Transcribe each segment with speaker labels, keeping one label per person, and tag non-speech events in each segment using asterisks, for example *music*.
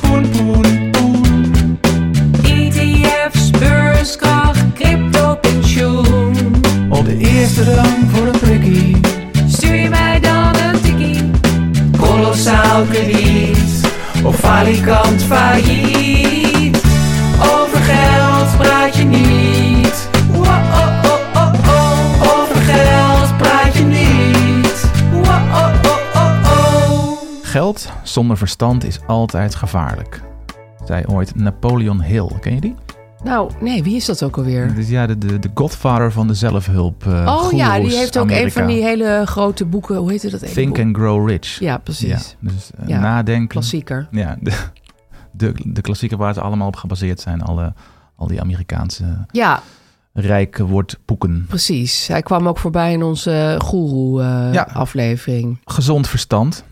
Speaker 1: poen, poen, poen. ETF's, E beurskracht, crypto, pensioen. Op de eerste rang voor een prikkie. Stuur je mij dan een tikkie. Kolossaal krediet. Of falikant failliet. Over geld praat je niet. Wow, oh, oh, oh, oh. Over geld praat je niet. Wow, oh, oh, oh, oh.
Speaker 2: Geld zonder verstand is altijd gevaarlijk. Zei ooit Napoleon Hill, ken je die?
Speaker 3: Nou, nee, wie is dat ook alweer?
Speaker 2: Dat is ja, de, de, de godfather van de zelfhulp. eh,
Speaker 3: oh ja, die
Speaker 2: goeroes
Speaker 3: heeft ook een
Speaker 2: Amerika.
Speaker 3: van die hele grote boeken. Hoe heette dat? ene
Speaker 2: Think
Speaker 3: boek?
Speaker 2: and Grow Rich.
Speaker 3: Ja, precies.
Speaker 2: Ja, dus eh,
Speaker 3: Ja,
Speaker 2: nadenken.
Speaker 3: Klassieker.
Speaker 2: Ja, *laughs* de, de, de klassieker waar ze allemaal op gebaseerd zijn. Alle, al die Amerikaanse
Speaker 3: Ja,
Speaker 2: rijke woordboeken.
Speaker 3: precies. Hij kwam ook voorbij in onze eh,
Speaker 2: Ja.
Speaker 3: goeroe-aflevering.
Speaker 2: Gezond verstand.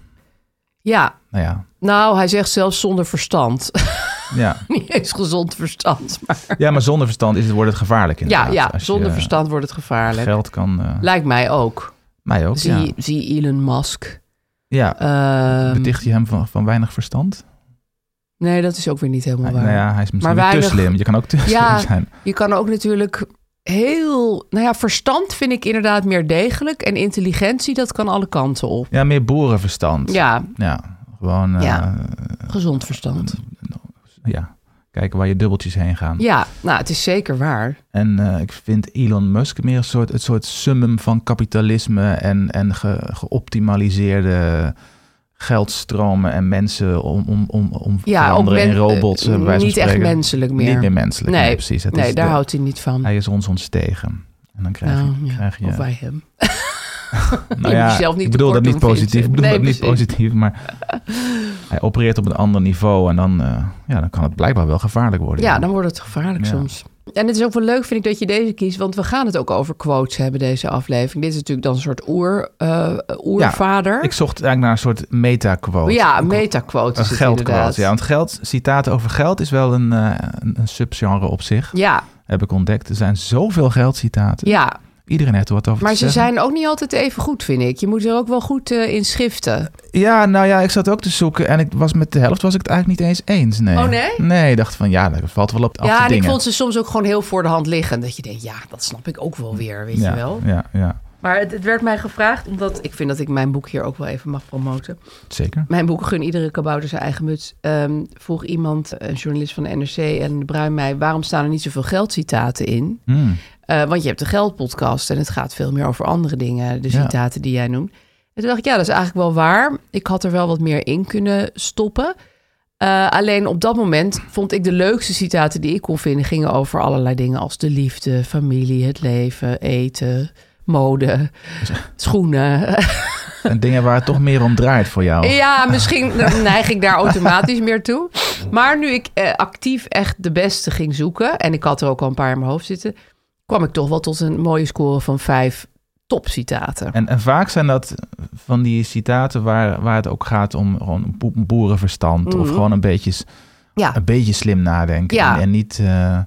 Speaker 3: ja.
Speaker 2: Nou ja,
Speaker 3: nou, hij zegt zelfs zonder verstand. *laughs*
Speaker 2: ja.
Speaker 3: Niet eens gezond verstand. Maar
Speaker 2: ja, maar zonder verstand is het, wordt het gevaarlijk
Speaker 3: ja,
Speaker 2: inderdaad.
Speaker 3: ja
Speaker 2: Als je eh,
Speaker 3: zonder verstand wordt het gevaarlijk.
Speaker 2: Geld kan... eh,
Speaker 3: Lijkt mij ook.
Speaker 2: mij ook,
Speaker 3: zie,
Speaker 2: ja.
Speaker 3: zie Elon Musk.
Speaker 2: ja.
Speaker 3: Ehm,
Speaker 2: Beticht je hem van, van weinig verstand?
Speaker 3: nee, dat is ook weer niet helemaal waar.
Speaker 2: Nou ja, hij is misschien
Speaker 3: Maar
Speaker 2: weer te
Speaker 3: weinig-
Speaker 2: slim. Je kan ook te
Speaker 3: *laughs* Ja.
Speaker 2: slim zijn.
Speaker 3: Je kan ook natuurlijk heel... Nou ja, verstand vind ik inderdaad meer degelijk. En intelligentie, dat kan alle kanten op.
Speaker 2: Ja, meer boerenverstand.
Speaker 3: Ja,
Speaker 2: Ja, gewoon eh, ja.
Speaker 3: Ja. gezond verstand.
Speaker 2: kijken waar je dubbeltjes heen gaan.
Speaker 3: Ja, nou, het is zeker waar.
Speaker 2: En eh, ik vind Elon Musk meer een soort, het soort summum van kapitalisme en, en ge- geoptimaliseerde geldstromen en mensen om, om, om, om
Speaker 3: Ja,
Speaker 2: veranderen
Speaker 3: men-
Speaker 2: in robots. eh, bij wijze van
Speaker 3: Niet echt
Speaker 2: spreken.
Speaker 3: menselijk meer.
Speaker 2: Niet meer menselijk, nee,
Speaker 3: Nee,
Speaker 2: precies. Het
Speaker 3: nee
Speaker 2: is
Speaker 3: daar
Speaker 2: de-
Speaker 3: houdt hij niet van.
Speaker 2: Hij is ons ontstegen. En dan krijg, je-
Speaker 3: Nou, ja,
Speaker 2: krijg je...
Speaker 3: Of wij hem.
Speaker 2: Nou
Speaker 3: Je
Speaker 2: ja,
Speaker 3: moet jezelf niet
Speaker 2: ik bedoel dat
Speaker 3: tekort
Speaker 2: niet
Speaker 3: doen,
Speaker 2: positief. Ik
Speaker 3: Vincent.
Speaker 2: bedoel
Speaker 3: Nee,
Speaker 2: dat niet
Speaker 3: precies.
Speaker 2: positief,
Speaker 3: *laughs*
Speaker 2: maar hij opereert op een ander niveau en dan, eh, ja, dan kan het blijkbaar wel gevaarlijk worden.
Speaker 3: Ja, dan wordt het gevaarlijk
Speaker 2: Ja.
Speaker 3: soms. En het is ook wel leuk, vind ik, dat je deze kiest. Want we gaan het ook over quotes hebben, deze aflevering. Dit is natuurlijk dan een soort oer, eh, oervader.
Speaker 2: Ik zocht eigenlijk naar een soort meta-quote.
Speaker 3: ja, een meta-quote
Speaker 2: Een
Speaker 3: is het inderdaad.
Speaker 2: geldquote. Ja, want geld, citaten over geld is wel een, eh, een, een subgenre op zich,
Speaker 3: ja,
Speaker 2: heb ik ontdekt. Er zijn zoveel geldcitaten.
Speaker 3: ja.
Speaker 2: Iedereen heeft er wat over
Speaker 3: maar
Speaker 2: te
Speaker 3: ze
Speaker 2: zeggen.
Speaker 3: zijn ook niet altijd even goed, vind ik. Je moet er ook wel goed eh, in schiften.
Speaker 2: Ja, nou ja, ik zat ook te zoeken en ik was met de helft was ik het eigenlijk niet eens eens. Nee.
Speaker 3: Oh, nee?
Speaker 2: Nee, ik dacht van ja, dat valt wel op af te
Speaker 3: ja, en
Speaker 2: dingen.
Speaker 3: ik vond ze soms ook gewoon heel voor de hand liggen. Dat je denkt, ja, dat snap ik ook wel weer, weet
Speaker 2: ja,
Speaker 3: je wel.
Speaker 2: Ja, ja,
Speaker 3: Maar het, het werd mij gevraagd, omdat ik vind dat ik mijn boek hier ook wel even mag promoten.
Speaker 2: zeker.
Speaker 3: Mijn boek Gun Iedere Kabouter Zijn Eigen Muts. Ehm, vroeg iemand, een journalist van de NRC en de Bruin mij... waarom staan er niet zoveel geldcitaten in?
Speaker 2: Hmm.
Speaker 3: Eh, want je hebt de Geldpodcast en het gaat veel meer over andere dingen. De
Speaker 2: Ja.
Speaker 3: citaten die jij noemt. En toen dacht ik, ja, dat is eigenlijk wel waar. Ik had er wel wat meer in kunnen stoppen. Eh, alleen op dat moment vond ik de leukste citaten die ik kon vinden... gingen over allerlei dingen als de liefde, familie, het leven, eten, mode, schoenen...
Speaker 2: En dingen waar het toch meer om draait voor jou.
Speaker 3: Ja, misschien neig ik daar automatisch meer toe. Maar nu ik eh, actief echt de beste ging zoeken... en ik had er ook al een paar in mijn hoofd zitten... kwam ik toch wel tot een mooie score van vijf topcitaten.
Speaker 2: En, en vaak zijn dat van die citaten waar, waar het ook gaat om gewoon een bo- boerenverstand. Of gewoon een beetje, s-
Speaker 3: Mhm. Ja,
Speaker 2: een beetje slim nadenken.
Speaker 3: Ja.
Speaker 2: En, en niet, eh,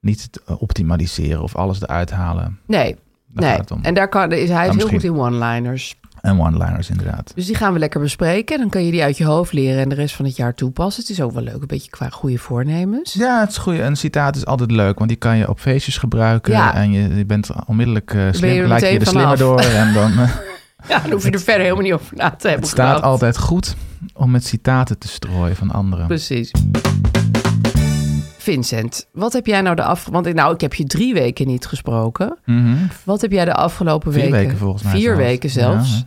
Speaker 2: niet het optimaliseren of alles eruit halen.
Speaker 3: nee.
Speaker 2: Daar
Speaker 3: nee.
Speaker 2: gaat het om.
Speaker 3: En daar kan, is, hij is
Speaker 2: Nou,
Speaker 3: heel goed
Speaker 2: misschien-
Speaker 3: in one-liners.
Speaker 2: En one-liners inderdaad.
Speaker 3: Dus die gaan we lekker bespreken. Dan kan je die uit je hoofd leren en de rest van het jaar toepassen. Het is ook wel leuk, een beetje qua goede voornemens.
Speaker 2: Ja, het is goed. Een citaat is altijd leuk, want die kan je op feestjes gebruiken.
Speaker 3: Ja.
Speaker 2: En je, je bent onmiddellijk eh slim,
Speaker 3: Ben je er
Speaker 2: lijkt je
Speaker 3: meteen
Speaker 2: er slimmer
Speaker 3: vanaf.
Speaker 2: door. En
Speaker 3: *laughs*
Speaker 2: dan, eh,
Speaker 3: Ja, dan hoef je er verder helemaal niet over na te hebben.
Speaker 2: het staat
Speaker 3: gedacht.
Speaker 2: altijd goed om met citaten te strooien van anderen.
Speaker 3: Precies. Vincent, wat heb jij nou de af... Want ik- nou, ik heb je drie weken niet gesproken.
Speaker 2: Mhm.
Speaker 3: Wat heb jij de afgelopen
Speaker 2: Vier
Speaker 3: weken...
Speaker 2: weken volgens mij
Speaker 3: Vier
Speaker 2: zelfs.
Speaker 3: weken zelfs.
Speaker 2: Ja, hè.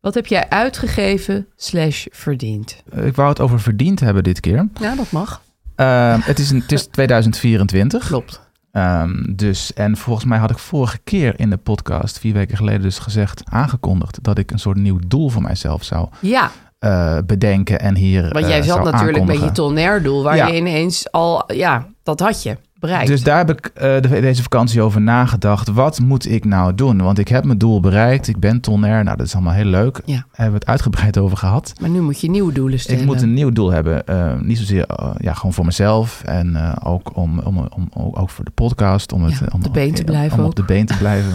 Speaker 3: Wat heb jij uitgegeven slash verdiend?
Speaker 2: Ik wou het over verdiend hebben dit keer.
Speaker 3: Ja, dat mag.
Speaker 2: Ehm, het, is een, het
Speaker 3: *laughs*
Speaker 2: is 2024.
Speaker 3: Klopt.
Speaker 2: Ehm, dus, en volgens mij had ik vorige keer in de podcast, vier weken geleden dus gezegd, aangekondigd dat ik een soort nieuw doel voor mijzelf zou
Speaker 3: Ja,
Speaker 2: eh, bedenken en hier
Speaker 3: want
Speaker 2: eh,
Speaker 3: jij zat
Speaker 2: zou
Speaker 3: natuurlijk met
Speaker 2: aankondigen.
Speaker 3: je tonair doel... waar
Speaker 2: Ja.
Speaker 3: je ineens al... Ja, dat had je bereikt.
Speaker 2: Dus daar heb ik eh, de- deze vakantie over nagedacht. Wat moet ik nou doen? Want ik heb mijn doel bereikt. Ik ben tonair. Nou, dat is allemaal heel leuk.
Speaker 3: Ja.
Speaker 2: Daar hebben we het uitgebreid over gehad.
Speaker 3: Maar nu moet je nieuwe doelen stellen.
Speaker 2: Ik moet een nieuw doel hebben. Eh, niet zozeer eh, ja, gewoon voor mezelf. En eh, ook, om, om, om, ook- ook voor de podcast. Om, het,
Speaker 3: Ja,
Speaker 2: eh, om
Speaker 3: op de been te blijven
Speaker 2: Om
Speaker 3: ook.
Speaker 2: op de been te blijven.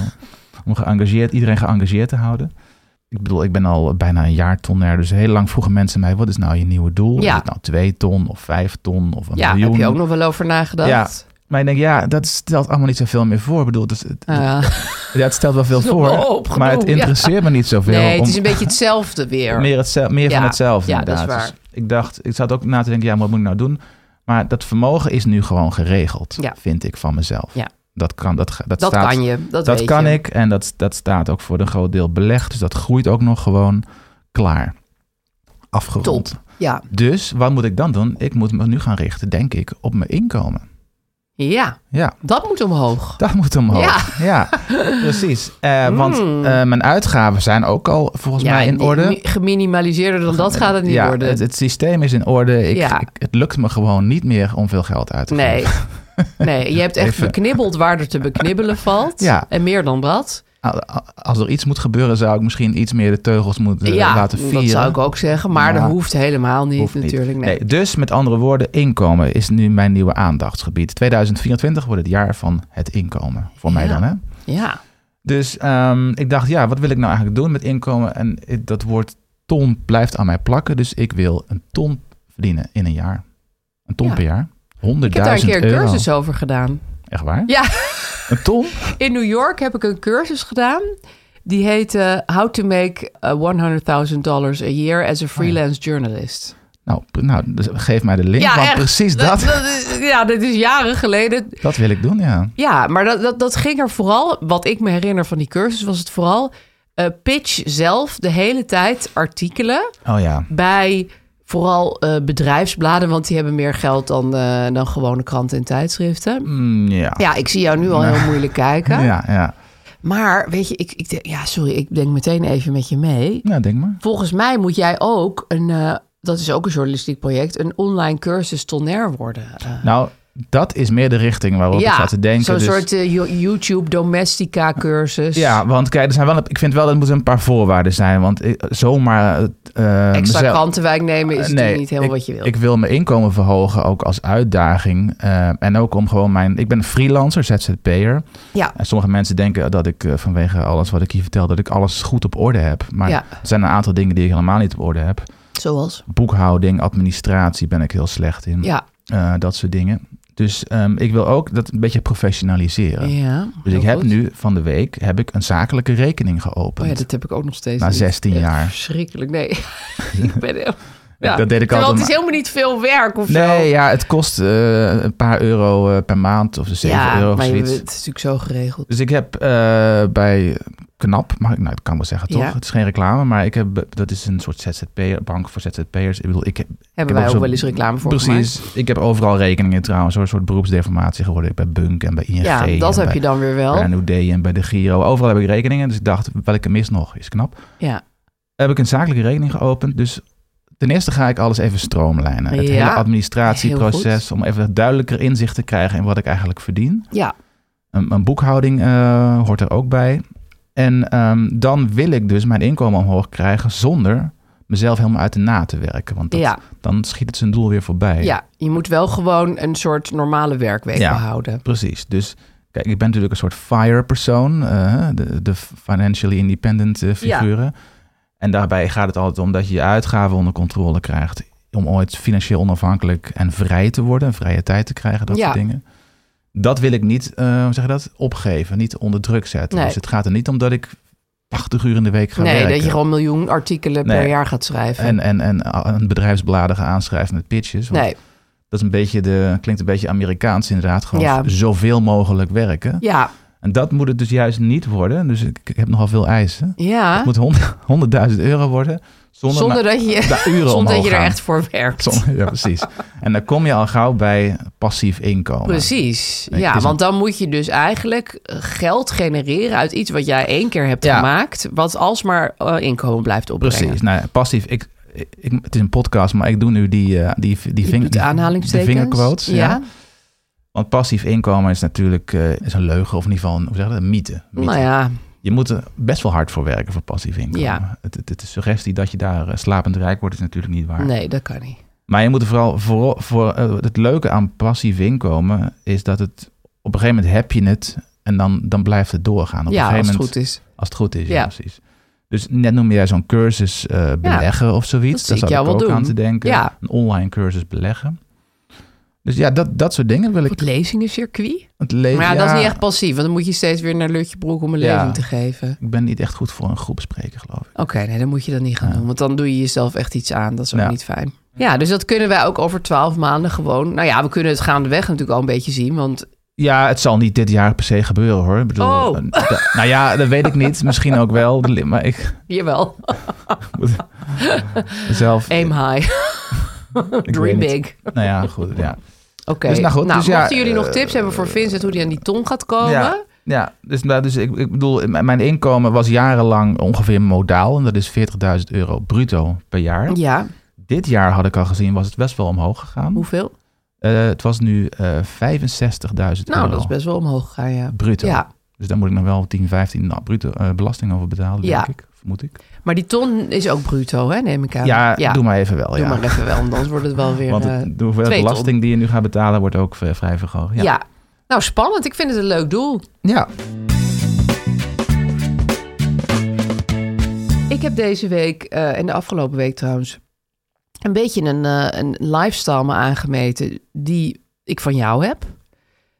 Speaker 2: om geëngageerd, iedereen geëngageerd te houden. Ik bedoel, ik ben al bijna een jaar tonair. Dus heel lang vroegen mensen mij, wat is nou je nieuwe doel?
Speaker 3: Ja.
Speaker 2: Is het nou twee ton of vijf ton of een
Speaker 3: Ja,
Speaker 2: miljoen?
Speaker 3: heb je ook nog wel over nagedacht?
Speaker 2: Maar ik denk, ja, dat stelt allemaal niet zoveel meer voor. Ik bedoel, het, is- het-
Speaker 3: Ja.
Speaker 2: ja, het stelt wel veel
Speaker 3: is nog
Speaker 2: voor,
Speaker 3: wel een hoop
Speaker 2: maar het
Speaker 3: gedoe, ja.
Speaker 2: interesseert me niet zoveel.
Speaker 3: Nee,
Speaker 2: om-
Speaker 3: het is een beetje hetzelfde weer.
Speaker 2: meer, hetzelfde, meer
Speaker 3: Ja,
Speaker 2: van hetzelfde,
Speaker 3: ja, dat is
Speaker 2: inderdaad.
Speaker 3: waar.
Speaker 2: Dus ik dacht, ik zat ook na te denken, ja, wat moet ik nou doen? Maar dat vermogen is nu gewoon geregeld,
Speaker 3: Ja.
Speaker 2: vind ik van mezelf.
Speaker 3: Ja.
Speaker 2: Dat kan, dat, ge- dat
Speaker 3: dat
Speaker 2: staat,
Speaker 3: kan je, dat,
Speaker 2: dat
Speaker 3: weet
Speaker 2: kan
Speaker 3: je.
Speaker 2: ik en dat, dat staat ook voor een groot deel belegd. Dus dat groeit ook nog gewoon klaar. Afgerond.
Speaker 3: Ja.
Speaker 2: Dus wat moet ik dan doen? Ik moet me nu gaan richten, denk ik, op mijn inkomen.
Speaker 3: ja,
Speaker 2: Ja. *laughs*
Speaker 3: dat moet omhoog.
Speaker 2: Dat moet omhoog. Ja, precies. Eh, Want eh, mijn uitgaven zijn ook al volgens
Speaker 3: Hmm. ja,
Speaker 2: mij in
Speaker 3: die-
Speaker 2: orde.
Speaker 3: mi- Geminimaliseerder dan dat gaat het niet
Speaker 2: ja,
Speaker 3: worden.
Speaker 2: Het, het systeem is in orde. Ik,
Speaker 3: Ja.
Speaker 2: ik- het lukt me gewoon niet meer om veel geld uit te geven. *laughs*
Speaker 3: nee. nee, je hebt echt
Speaker 2: Even.
Speaker 3: beknibbeld waar er te beknibbelen valt.
Speaker 2: Ja.
Speaker 3: En meer dan dat.
Speaker 2: Al- al- Als er iets moet gebeuren, zou ik misschien iets meer de teugels moeten eh,
Speaker 3: ja,
Speaker 2: laten vieren.
Speaker 3: dat zou ik ook zeggen. Maar
Speaker 2: Ja.
Speaker 3: dat hoeft helemaal niet
Speaker 2: Hoeft niet.
Speaker 3: natuurlijk. Nee.
Speaker 2: Nee, dus met andere woorden, inkomen is nu mijn nieuwe aandachtsgebied. 2024 wordt het jaar van het inkomen. Voor mij
Speaker 3: Ja.
Speaker 2: dan, hè?
Speaker 3: Ja,
Speaker 2: Dus ehm, ik dacht, ja, wat wil ik nou eigenlijk doen met inkomen? En het- dat woord ton blijft aan mij plakken. Dus ik wil een ton verdienen in een jaar. Een ton
Speaker 3: Ja.
Speaker 2: per jaar. 100.000
Speaker 3: ik heb daar een keer een
Speaker 2: euro.
Speaker 3: cursus over gedaan.
Speaker 2: Echt waar?
Speaker 3: Ja. *laughs*
Speaker 2: Een ton?
Speaker 3: In New York heb ik een cursus gedaan. Die heette uh, How to Make eh, $100,000 a Year
Speaker 2: Oh
Speaker 3: as a Freelance Journalist.
Speaker 2: Nou, p- nou dus geef mij de link.
Speaker 3: Ja,
Speaker 2: want
Speaker 3: echt.
Speaker 2: precies dat, dat,
Speaker 3: is- ja, dat is jaren geleden.
Speaker 2: wil ik doen, ja.
Speaker 3: Ja, maar dat, dat, dat ging er vooral, wat ik me herinner van die cursus, was het vooral eh, pitch zelf de hele tijd artikelen
Speaker 2: Oh ja.
Speaker 3: bij vooral eh, bedrijfsbladen, want die hebben meer geld dan, eh, dan gewone kranten en tijdschriften.
Speaker 2: Mm, ja.
Speaker 3: Ja, ik zie jou nu al heel moeilijk kijken.
Speaker 2: ja, ja.
Speaker 3: Maar weet je, ik, ik, denk- ja, sorry, ik denk meteen even met je mee.
Speaker 2: Nou, denk maar.
Speaker 3: Volgens mij moet jij ook een, eh, dat is ook een journalistiek project, een online cursus tonair worden. eh.
Speaker 2: Nou, dat is meer de richting waarop ik zat te denken.
Speaker 3: Zo'n
Speaker 2: dus-
Speaker 3: soort eh, Yo- YouTube domestica cursus.
Speaker 2: Ja, want kijk, er zijn wel, een- ik vind wel dat er moeten een paar voorwaarden zijn. Want ik- zomaar... eh,
Speaker 3: Extra
Speaker 2: mezelf-
Speaker 3: krantenwijk nemen is
Speaker 2: Eh,
Speaker 3: natuurlijk
Speaker 2: nee,
Speaker 3: niet helemaal
Speaker 2: ik-
Speaker 3: wat je wil.
Speaker 2: Ik wil mijn inkomen verhogen, ook als uitdaging. Eh, en ook om gewoon mijn... Ik ben een freelancer, ZZP'er.
Speaker 3: ja.
Speaker 2: En sommige mensen denken dat ik eh, vanwege alles wat ik hier vertel... dat ik alles goed op orde heb. Maar
Speaker 3: Ja.
Speaker 2: er zijn een aantal dingen die ik helemaal niet op orde heb.
Speaker 3: Zoals?
Speaker 2: Boekhouding, administratie ben ik heel slecht in.
Speaker 3: Ja.
Speaker 2: Eh, dat soort dingen. Dus ehm, ik wil ook dat een beetje professionaliseren.
Speaker 3: ja
Speaker 2: Dus
Speaker 3: heel
Speaker 2: ik heb
Speaker 3: goed.
Speaker 2: nu van de week heb ik een zakelijke rekening geopend.
Speaker 3: Oh ja, dat heb ik ook nog steeds.
Speaker 2: Na
Speaker 3: niet.
Speaker 2: 16
Speaker 3: Echt
Speaker 2: jaar.
Speaker 3: Verschrikkelijk, nee. *laughs* ik ben heel... Ja.
Speaker 2: Dat deed ik
Speaker 3: Terwijl
Speaker 2: altijd,
Speaker 3: het is helemaal niet veel werk of zo.
Speaker 2: Nee, ja, het kost eh, een paar euro eh, per maand of 7
Speaker 3: ja,
Speaker 2: euro of
Speaker 3: maar je-
Speaker 2: zoiets.
Speaker 3: het is natuurlijk zo geregeld.
Speaker 2: Dus ik heb eh, bij Knap, mag ik, nou, dat kan ik wel zeggen toch?
Speaker 3: Ja.
Speaker 2: Het is geen reclame, maar ik heb, dat is een soort ZZP'er, bank voor ZZP'ers. Ik bedoel, ik heb,
Speaker 3: Hebben
Speaker 2: heb
Speaker 3: wij
Speaker 2: ook
Speaker 3: ook
Speaker 2: zo'n-
Speaker 3: wel eens reclame voor gemaakt.
Speaker 2: precies, ik heb overal rekeningen trouwens, hoor, een soort beroepsdeformatie geworden. Ik bij Bunk en bij ING.
Speaker 3: Ja, dat
Speaker 2: en
Speaker 3: heb je
Speaker 2: bij,
Speaker 3: dan weer wel.
Speaker 2: Bij NUD en bij de Giro. Overal heb ik rekeningen, dus ik dacht, welke mis nog, is knap.
Speaker 3: Ja.
Speaker 2: Heb ik een zakelijke rekening geopend, dus ten eerste ga ik alles even stroomlijnen. Het
Speaker 3: Ja,
Speaker 2: hele
Speaker 3: heel
Speaker 2: administratieproces, om even duidelijker inzicht te krijgen in wat ik eigenlijk verdien.
Speaker 3: ja,
Speaker 2: Een, een boekhouding eh, hoort er ook bij. En ehm, dan wil ik dus mijn inkomen omhoog krijgen zonder mezelf helemaal uit de na te werken. Want dat-
Speaker 3: Ja.
Speaker 2: dan schiet het zijn doel weer voorbij.
Speaker 3: ja, je moet wel gewoon een soort normale werkweek
Speaker 2: Ja.
Speaker 3: behouden.
Speaker 2: Precies. Dus kijk, ik ben natuurlijk een soort fire persoon. eh, de, de financially independent eh, figuren. En daarbij gaat het altijd om dat je je uitgaven onder controle krijgt. Om ooit financieel onafhankelijk en vrij te worden. En vrije tijd te krijgen, dat
Speaker 3: Ja.
Speaker 2: soort dingen. Dat wil ik niet, eh, hoe zeg je dat, opgeven. Niet onder druk zetten.
Speaker 3: Nee.
Speaker 2: Dus het gaat er niet om dat ik 80 uur in de week ga
Speaker 3: nee,
Speaker 2: werken.
Speaker 3: dat je gewoon een miljoen artikelen per
Speaker 2: Nee.
Speaker 3: jaar gaat schrijven.
Speaker 2: En, en, en ah, een bedrijfsbladen gaan aanschrijven met pitches. Want
Speaker 3: nee,
Speaker 2: Dat is een beetje de, klinkt een beetje Amerikaans inderdaad. Gewoon
Speaker 3: Ja.
Speaker 2: zoveel mogelijk werken.
Speaker 3: ja,
Speaker 2: En dat moet het dus juist niet worden. Dus ik, ik heb nogal veel eisen.
Speaker 3: ja.
Speaker 2: Het moet hond- *laughs* 100.000 euro worden. Zonder,
Speaker 3: Ah? Zonder
Speaker 2: maar-
Speaker 3: dat je,
Speaker 2: de
Speaker 3: *laughs*
Speaker 2: uren
Speaker 3: zonder dat
Speaker 2: omhoog
Speaker 3: je er
Speaker 2: gaan.
Speaker 3: echt voor werkt.
Speaker 2: Zonder- ja, precies. En dan kom je al gauw bij passief inkomen.
Speaker 3: Precies,
Speaker 2: Nee, het
Speaker 3: ja,
Speaker 2: is
Speaker 3: want dan moet je dus eigenlijk geld genereren uit iets wat jij één keer hebt
Speaker 2: Ja.
Speaker 3: gemaakt, wat alsmaar eh, inkomen blijft opbrengen.
Speaker 2: Precies. Nou, ja, passief. Ik, ik, ik- het is een podcast, maar ik doe nu die, eh, die, die,
Speaker 3: Je
Speaker 2: ving-
Speaker 3: doet
Speaker 2: die-
Speaker 3: aanhalingstekens.
Speaker 2: de vingerquotes. Ja.
Speaker 3: ja.
Speaker 2: Want passief inkomen is natuurlijk eh, is een leugen, of in ieder geval een, hoe zeg je dat, een mythe. Mythe.
Speaker 3: Nou ja,
Speaker 2: Je moet er best wel hard voor werken voor passief inkomen.
Speaker 3: Ja.
Speaker 2: Het, het, het- de suggestie dat je daar eh, slapend rijk wordt is natuurlijk niet waar.
Speaker 3: nee, dat kan niet.
Speaker 2: Maar je moet er vooral voor, voor eh, het leuke aan passief inkomen is dat het op een gegeven moment heb je het en dan, dan blijft het doorgaan. Op een
Speaker 3: Ja,
Speaker 2: gegeven
Speaker 3: als het
Speaker 2: moment,
Speaker 3: goed is.
Speaker 2: Als het goed is, ja,
Speaker 3: Ja.
Speaker 2: precies. Dus net noemde jij zo'n cursus eh, beleggen of zoiets.
Speaker 3: Dat zie ik
Speaker 2: Daar
Speaker 3: jou
Speaker 2: zat ik
Speaker 3: wel
Speaker 2: ook
Speaker 3: doen.
Speaker 2: aan te denken.
Speaker 3: Ja.
Speaker 2: Een online cursus beleggen. Dus ja, dat, dat soort dingen wil ik
Speaker 3: Het lezingencircuit?
Speaker 2: het leven.
Speaker 3: Maar ja, dat is niet echt passief, want dan moet je steeds weer naar Lutje Broek om een
Speaker 2: Ja.
Speaker 3: lezing te geven.
Speaker 2: Ik ben niet echt goed voor een groep spreken, geloof ik.
Speaker 3: Oké, nee, dan moet je dat niet gaan doen, want dan doe je jezelf echt iets aan. Dat is ook
Speaker 2: Ja.
Speaker 3: niet fijn. Ja, dus dat kunnen wij ook over twaalf maanden gewoon. Nou ja, we kunnen het gaandeweg natuurlijk al een beetje zien, want
Speaker 2: Ja, het zal niet dit jaar per se gebeuren hoor. Ik bedoel,
Speaker 3: Oh.
Speaker 2: eh, da- nou ja, dat weet ik niet. Misschien ook
Speaker 3: *laughs*
Speaker 2: wel. De li- Maar ik
Speaker 3: jawel,
Speaker 2: moet zelf.
Speaker 3: aim high,
Speaker 2: ik
Speaker 3: *laughs* dream
Speaker 2: weet niet.
Speaker 3: big.
Speaker 2: Nou ja,
Speaker 3: *laughs*
Speaker 2: goed. Ja,
Speaker 3: Oké,
Speaker 2: Dus nou goed, dus ja,
Speaker 3: mochten jullie nog
Speaker 2: eh,
Speaker 3: tips hebben voor Vincent hoe die aan die ton gaat komen?
Speaker 2: ja, ja dus, nou, dus ik, ik bedoel, m- mijn inkomen was jarenlang ongeveer modaal. En dat is 40.000 euro bruto per jaar.
Speaker 3: Ja,
Speaker 2: Dit jaar had ik al gezien, was het best wel omhoog gegaan.
Speaker 3: hoeveel?
Speaker 2: Eh, het was nu eh 65.000 euro.
Speaker 3: Nou, dat is best wel omhoog gegaan, ja.
Speaker 2: bruto.
Speaker 3: Ja,
Speaker 2: Dus daar moet ik nog wel 10, 15 nou, bruto eh, belasting over betalen, denk
Speaker 3: Ja.
Speaker 2: ik. Vermoed ik.
Speaker 3: maar die ton is ook bruto, hè, neem ik aan.
Speaker 2: Ja, doe maar even wel.
Speaker 3: Doe
Speaker 2: ja.
Speaker 3: maar even wel, want anders wordt het wel weer...
Speaker 2: Want
Speaker 3: eh,
Speaker 2: het, de hoeveelheid
Speaker 3: twee ton.
Speaker 2: belasting die je nu gaat betalen wordt ook eh, vrij verhoogd.
Speaker 3: ja.
Speaker 2: Ja.
Speaker 3: Nou, spannend. Ik vind het een leuk doel.
Speaker 2: ja.
Speaker 3: Ik heb deze week, eh, en de afgelopen week trouwens, een beetje een, eh, een lifestyle me aangemeten die ik van jou heb.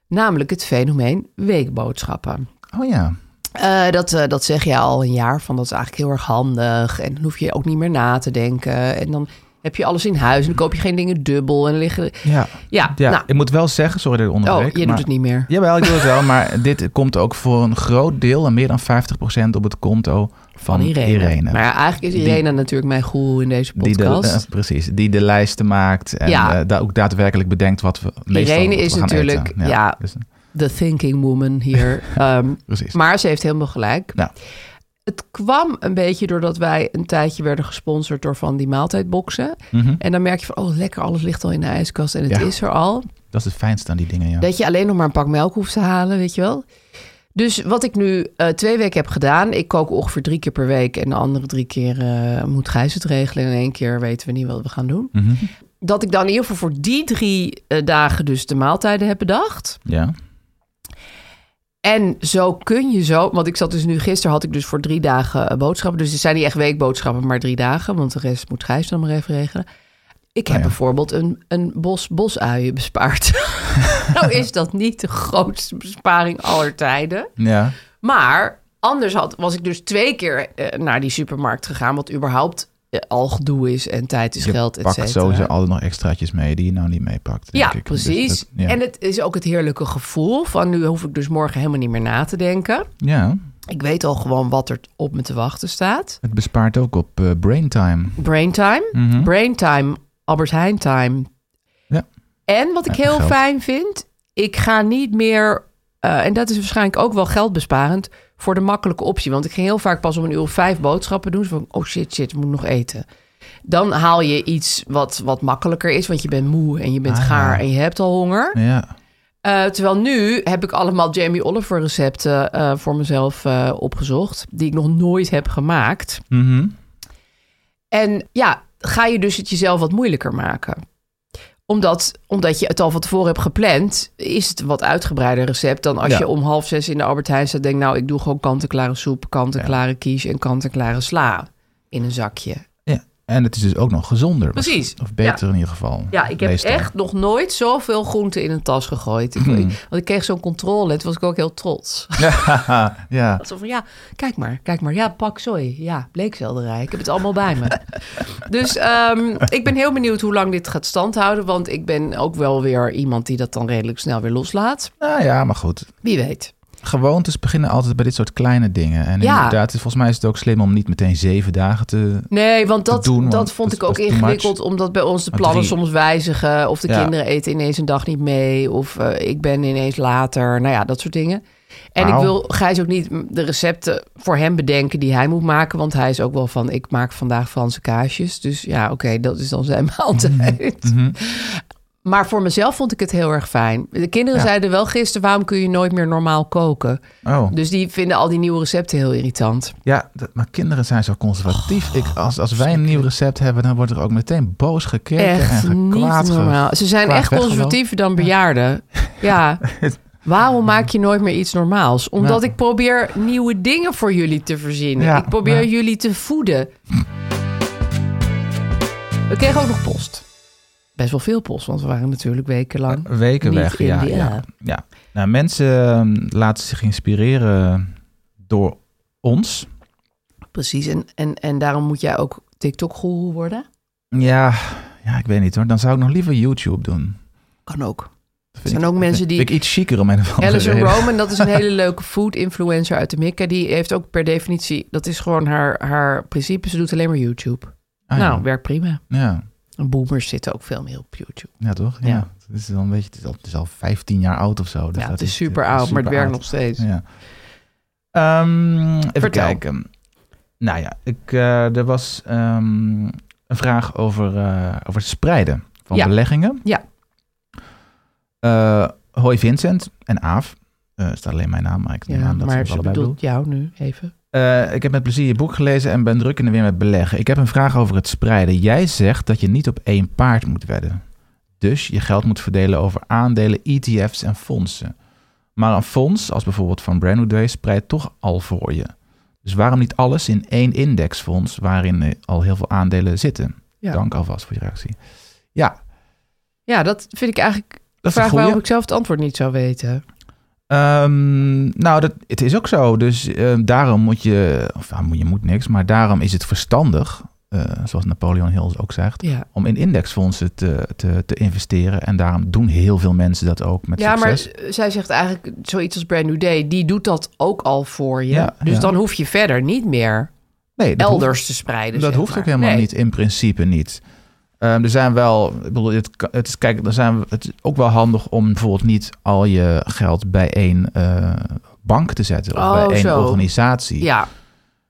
Speaker 3: Namelijk het fenomeen weekboodschappen.
Speaker 2: Oh ja.
Speaker 3: Eh, dat, eh, dat zeg je al een jaar van dat is eigenlijk heel erg handig. En dan hoef je ook niet meer na te denken. En dan heb je alles in huis en dan koop je geen dingen dubbel. En dan liggen...
Speaker 2: Ja.
Speaker 3: Ja,
Speaker 2: ja.
Speaker 3: nou,
Speaker 2: ik moet wel zeggen, sorry dat ik
Speaker 3: oh,
Speaker 2: onderbreek.
Speaker 3: je
Speaker 2: maar-
Speaker 3: doet het niet meer.
Speaker 2: Jawel, ik doe het wel, maar dit komt ook voor een groot deel, en meer dan 50% op het konto van,
Speaker 3: Van Irene.
Speaker 2: Irene.
Speaker 3: Maar ja, eigenlijk is
Speaker 2: Die-
Speaker 3: Irene natuurlijk mijn goeroe in deze
Speaker 2: die de,
Speaker 3: podcast.
Speaker 2: eh, precies, die de lijsten maakt en
Speaker 3: Ja.
Speaker 2: eh, daar ook daadwerkelijk bedenkt wat we meestal
Speaker 3: Irene
Speaker 2: wat we
Speaker 3: is
Speaker 2: gaan
Speaker 3: natuurlijk-
Speaker 2: eten.
Speaker 3: ja.
Speaker 2: dus, eh,
Speaker 3: The thinking woman
Speaker 2: *laughs*
Speaker 3: hier. Ehm,
Speaker 2: precies.
Speaker 3: maar ze heeft helemaal gelijk.
Speaker 2: Ja.
Speaker 3: Het kwam een beetje doordat wij een tijdje werden gesponsord door van die maaltijdboxen.
Speaker 2: Mhm.
Speaker 3: En dan merk je van, oh lekker, alles ligt al in de ijskast en het
Speaker 2: Ja.
Speaker 3: is er al.
Speaker 2: Dat is het fijnste aan die dingen, ja.
Speaker 3: Dat je alleen nog maar een pak melk hoeft te halen, weet je wel. Dus wat ik nu eh, twee weken heb gedaan, ik kook ongeveer drie keer per week en de andere drie keer eh, moet Gijs het regelen. En in één keer weten we niet wat we gaan doen.
Speaker 2: Mhm.
Speaker 3: Dat ik dan in ieder geval voor die drie eh, dagen dus de maaltijden heb bedacht.
Speaker 2: ja.
Speaker 3: En zo kun je zo, want ik zat dus nu gisteren had ik dus voor drie dagen eh, boodschappen. Dus het zijn niet echt weekboodschappen, maar drie dagen, want de rest moet Gijs dan maar even regelen. Ik heb
Speaker 2: Oh ja.
Speaker 3: bijvoorbeeld een, een bos bosuien bespaard. *laughs* nou is dat niet de grootste besparing aller tijden.
Speaker 2: Ja.
Speaker 3: Maar anders had, was ik dus twee keer eh, naar die supermarkt gegaan, wat überhaupt eh, al gedoe is en tijd is
Speaker 2: Je
Speaker 3: geld, et
Speaker 2: pakt
Speaker 3: cetera.
Speaker 2: sowieso altijd nog extraatjes mee die je nou niet meepakt. denk
Speaker 3: Ja,
Speaker 2: ik. Dus
Speaker 3: precies.
Speaker 2: dat- ja.
Speaker 3: En het is ook het heerlijke gevoel van nu hoef ik dus morgen helemaal niet meer na te denken.
Speaker 2: ja,
Speaker 3: Ik weet al gewoon wat er op me te wachten staat.
Speaker 2: het bespaart ook op eh, braintime.
Speaker 3: Braintime.
Speaker 2: Mhm.
Speaker 3: Braintime, Albert Heijn time.
Speaker 2: Ja.
Speaker 3: En wat ik
Speaker 2: Ja,
Speaker 3: heel
Speaker 2: geld.
Speaker 3: fijn vind, ik ga niet meer... eh, en dat is waarschijnlijk ook wel geldbesparend voor de makkelijke optie. Want ik ging heel vaak pas om een uur of vijf boodschappen doen. Zo van, oh shit, shit, ik moet nog eten. Dan haal je iets wat, wat makkelijker is, want je bent moe en je bent
Speaker 2: Ah, ja.
Speaker 3: gaar en je hebt al honger.
Speaker 2: Ja.
Speaker 3: Eh, terwijl nu heb ik allemaal Jamie Oliver recepten eh, voor mezelf eh, opgezocht, die ik nog nooit heb gemaakt.
Speaker 2: Mhm.
Speaker 3: En ja, ga je dus het jezelf wat moeilijker maken. Omdat, omdat je het al van tevoren hebt gepland, is het een wat uitgebreider recept dan als
Speaker 2: Ja.
Speaker 3: je om half zes in de Albert Heijn staat en denkt, nou, ik doe gewoon kant-en-klare soep, kant-en-klare quiche en kant-en-klare sla. in een zakje.
Speaker 2: En het is dus ook nog gezonder.
Speaker 3: Precies.
Speaker 2: Of beter
Speaker 3: Ja.
Speaker 2: in ieder geval.
Speaker 3: Ja, ik heb
Speaker 2: meestal. Hmm.
Speaker 3: echt nog nooit zoveel groenten in een tas gegooid. Ik- Want ik kreeg zo'n controle. Toen was ik ook heel trots.
Speaker 2: ja.
Speaker 3: Zo van, ja, kijk maar, kijk maar. Ja, pak zooi. Ja, bleekselderij. Ik heb het allemaal bij me. dus ehm, ik ben heel benieuwd hoe lang dit gaat standhouden. Want ik ben ook wel weer iemand die dat dan redelijk snel weer loslaat.
Speaker 2: Nou ja, maar goed.
Speaker 3: Wie weet.
Speaker 2: Gewoontes beginnen altijd bij dit soort kleine dingen. En
Speaker 3: Ja.
Speaker 2: inderdaad, volgens mij is het ook slim om niet meteen zeven dagen te...
Speaker 3: Nee, want dat,
Speaker 2: Te doen, want
Speaker 3: dat vond
Speaker 2: dat-
Speaker 3: ik ook
Speaker 2: dat is too much.
Speaker 3: ingewikkeld. Omdat bij ons de
Speaker 2: Maar
Speaker 3: plannen
Speaker 2: drie.
Speaker 3: soms wijzigen. Of de
Speaker 2: Ja.
Speaker 3: kinderen eten ineens een dag niet mee. Of eh, ik ben ineens later. Nou ja, dat soort dingen. En
Speaker 2: Wauw.
Speaker 3: ik wil Gijs ook niet de recepten voor hem bedenken die hij moet maken. Want hij is ook wel van, ik maak vandaag Franse kaasjes. Dus ja, oké, dat is dan zijn *laughs* maaltijd.
Speaker 2: Mhm.
Speaker 3: Maar voor mezelf vond ik het heel erg fijn. De kinderen
Speaker 2: Ja.
Speaker 3: zeiden wel gisteren, waarom kun je nooit meer normaal koken?
Speaker 2: Oh,
Speaker 3: Dus die vinden al die nieuwe recepten heel irritant.
Speaker 2: ja, dat- maar kinderen zijn zo
Speaker 3: Oh,
Speaker 2: conservatief. ik, als, als wij een nieuw recept hebben, dan wordt er ook meteen boos gekeken en
Speaker 3: Echt
Speaker 2: geklaagd.
Speaker 3: niet
Speaker 2: ge-
Speaker 3: normaal. Ze zijn
Speaker 2: kwaad
Speaker 3: echt
Speaker 2: weggelopen.
Speaker 3: conservatiever dan
Speaker 2: *laughs*
Speaker 3: bejaarden. Ja. Waarom maak je nooit meer iets normaals? Omdat
Speaker 2: Ja.
Speaker 3: ik probeer nieuwe dingen voor jullie te verzinnen.
Speaker 2: Ja,
Speaker 3: Ik probeer
Speaker 2: ja.
Speaker 3: jullie te voeden. We kregen ook nog post. Best wel veel post, want we waren natuurlijk wekenlang.
Speaker 2: Weken
Speaker 3: Niet
Speaker 2: weg,
Speaker 3: in
Speaker 2: ja,
Speaker 3: die-
Speaker 2: ja,
Speaker 3: ja.
Speaker 2: ja. Nou, mensen ehm, laten zich inspireren door ons.
Speaker 3: Precies. En, en, en daarom moet jij ook TikTok-goeroe worden.
Speaker 2: Ja, ja, ik weet niet hoor. Dan zou ik nog liever YouTube doen.
Speaker 3: Kan ook.
Speaker 2: Dat
Speaker 3: Er zijn ook mensen die-
Speaker 2: vind ik iets chiquer om een of andere
Speaker 3: Alison
Speaker 2: reden.
Speaker 3: Roman, dat is
Speaker 2: *laughs*
Speaker 3: een hele leuke food-influencer uit Amerika. Die heeft ook per definitie, dat is gewoon haar, haar principe. Ze doet alleen maar YouTube.
Speaker 2: Ah,
Speaker 3: nou, werkt prima.
Speaker 2: ja. ja.
Speaker 3: En boomers zitten ook veel meer op YouTube.
Speaker 2: Ja, toch? Ja.
Speaker 3: Ja.
Speaker 2: Het, is wel een beetje, het, is al, het is al 15 jaar oud of zo. Dus
Speaker 3: ja,
Speaker 2: dat
Speaker 3: het is super oud, maar het werkt nog steeds.
Speaker 2: Ja. Ehm, even
Speaker 3: Vertel.
Speaker 2: kijken. Nou ja, ik, eh, er was ehm, een vraag over, eh, over het spreiden van
Speaker 3: Ja.
Speaker 2: beleggingen.
Speaker 3: Ja.
Speaker 2: Eh, hoi Vincent en Aaf. Eh, Er staat alleen mijn naam, maar ik neem
Speaker 3: Ja,
Speaker 2: aan dat ze
Speaker 3: maar
Speaker 2: het
Speaker 3: ze
Speaker 2: allebei bedoelt.
Speaker 3: bedoelt jou nu even.
Speaker 2: Eh, ik heb met plezier je boek gelezen en ben druk in de weer met beleggen. Ik heb een vraag over het spreiden. Jij zegt dat je niet op één paard moet wedden. Dus je geld moet verdelen over aandelen, ETF's en fondsen. Maar een fonds, als bijvoorbeeld van Brand New Day, spreidt toch al voor je. Dus waarom niet alles in één indexfonds waarin eh, al heel veel aandelen zitten?
Speaker 3: Ja.
Speaker 2: Dank alvast voor je reactie. Ja,
Speaker 3: Ja, dat vind ik eigenlijk
Speaker 2: dat is een
Speaker 3: vraag
Speaker 2: goeie.
Speaker 3: waarom ik zelf het antwoord niet zou weten.
Speaker 2: Ehm, nou, dat, het is ook zo. Dus ehm, daarom moet je, of ja, moet- je moet niks, maar daarom is het verstandig, eh, zoals Napoleon Hill ook zegt,
Speaker 3: Ja,
Speaker 2: om in indexfondsen te, te, te investeren. En daarom doen heel veel mensen dat ook met
Speaker 3: ja maar
Speaker 2: succes.
Speaker 3: z- zij zegt eigenlijk zoiets als Brand New Day. Die doet dat ook al voor je.
Speaker 2: Ja,
Speaker 3: dus
Speaker 2: ja.
Speaker 3: dan hoef je verder niet meer
Speaker 2: nee, dat hoeft-
Speaker 3: elders te spreiden.
Speaker 2: dat
Speaker 3: zeg
Speaker 2: hoeft ook
Speaker 3: maar.
Speaker 2: helemaal
Speaker 3: Nee.
Speaker 2: niet, in principe niet. Ehm, er zijn wel, ik bedoel, het, kan- het is, kijk, er zijn, het is ook wel handig om bijvoorbeeld niet al je geld bij één eh, bank te zetten of
Speaker 3: Oh,
Speaker 2: bij één
Speaker 3: zo.
Speaker 2: organisatie.
Speaker 3: Ja,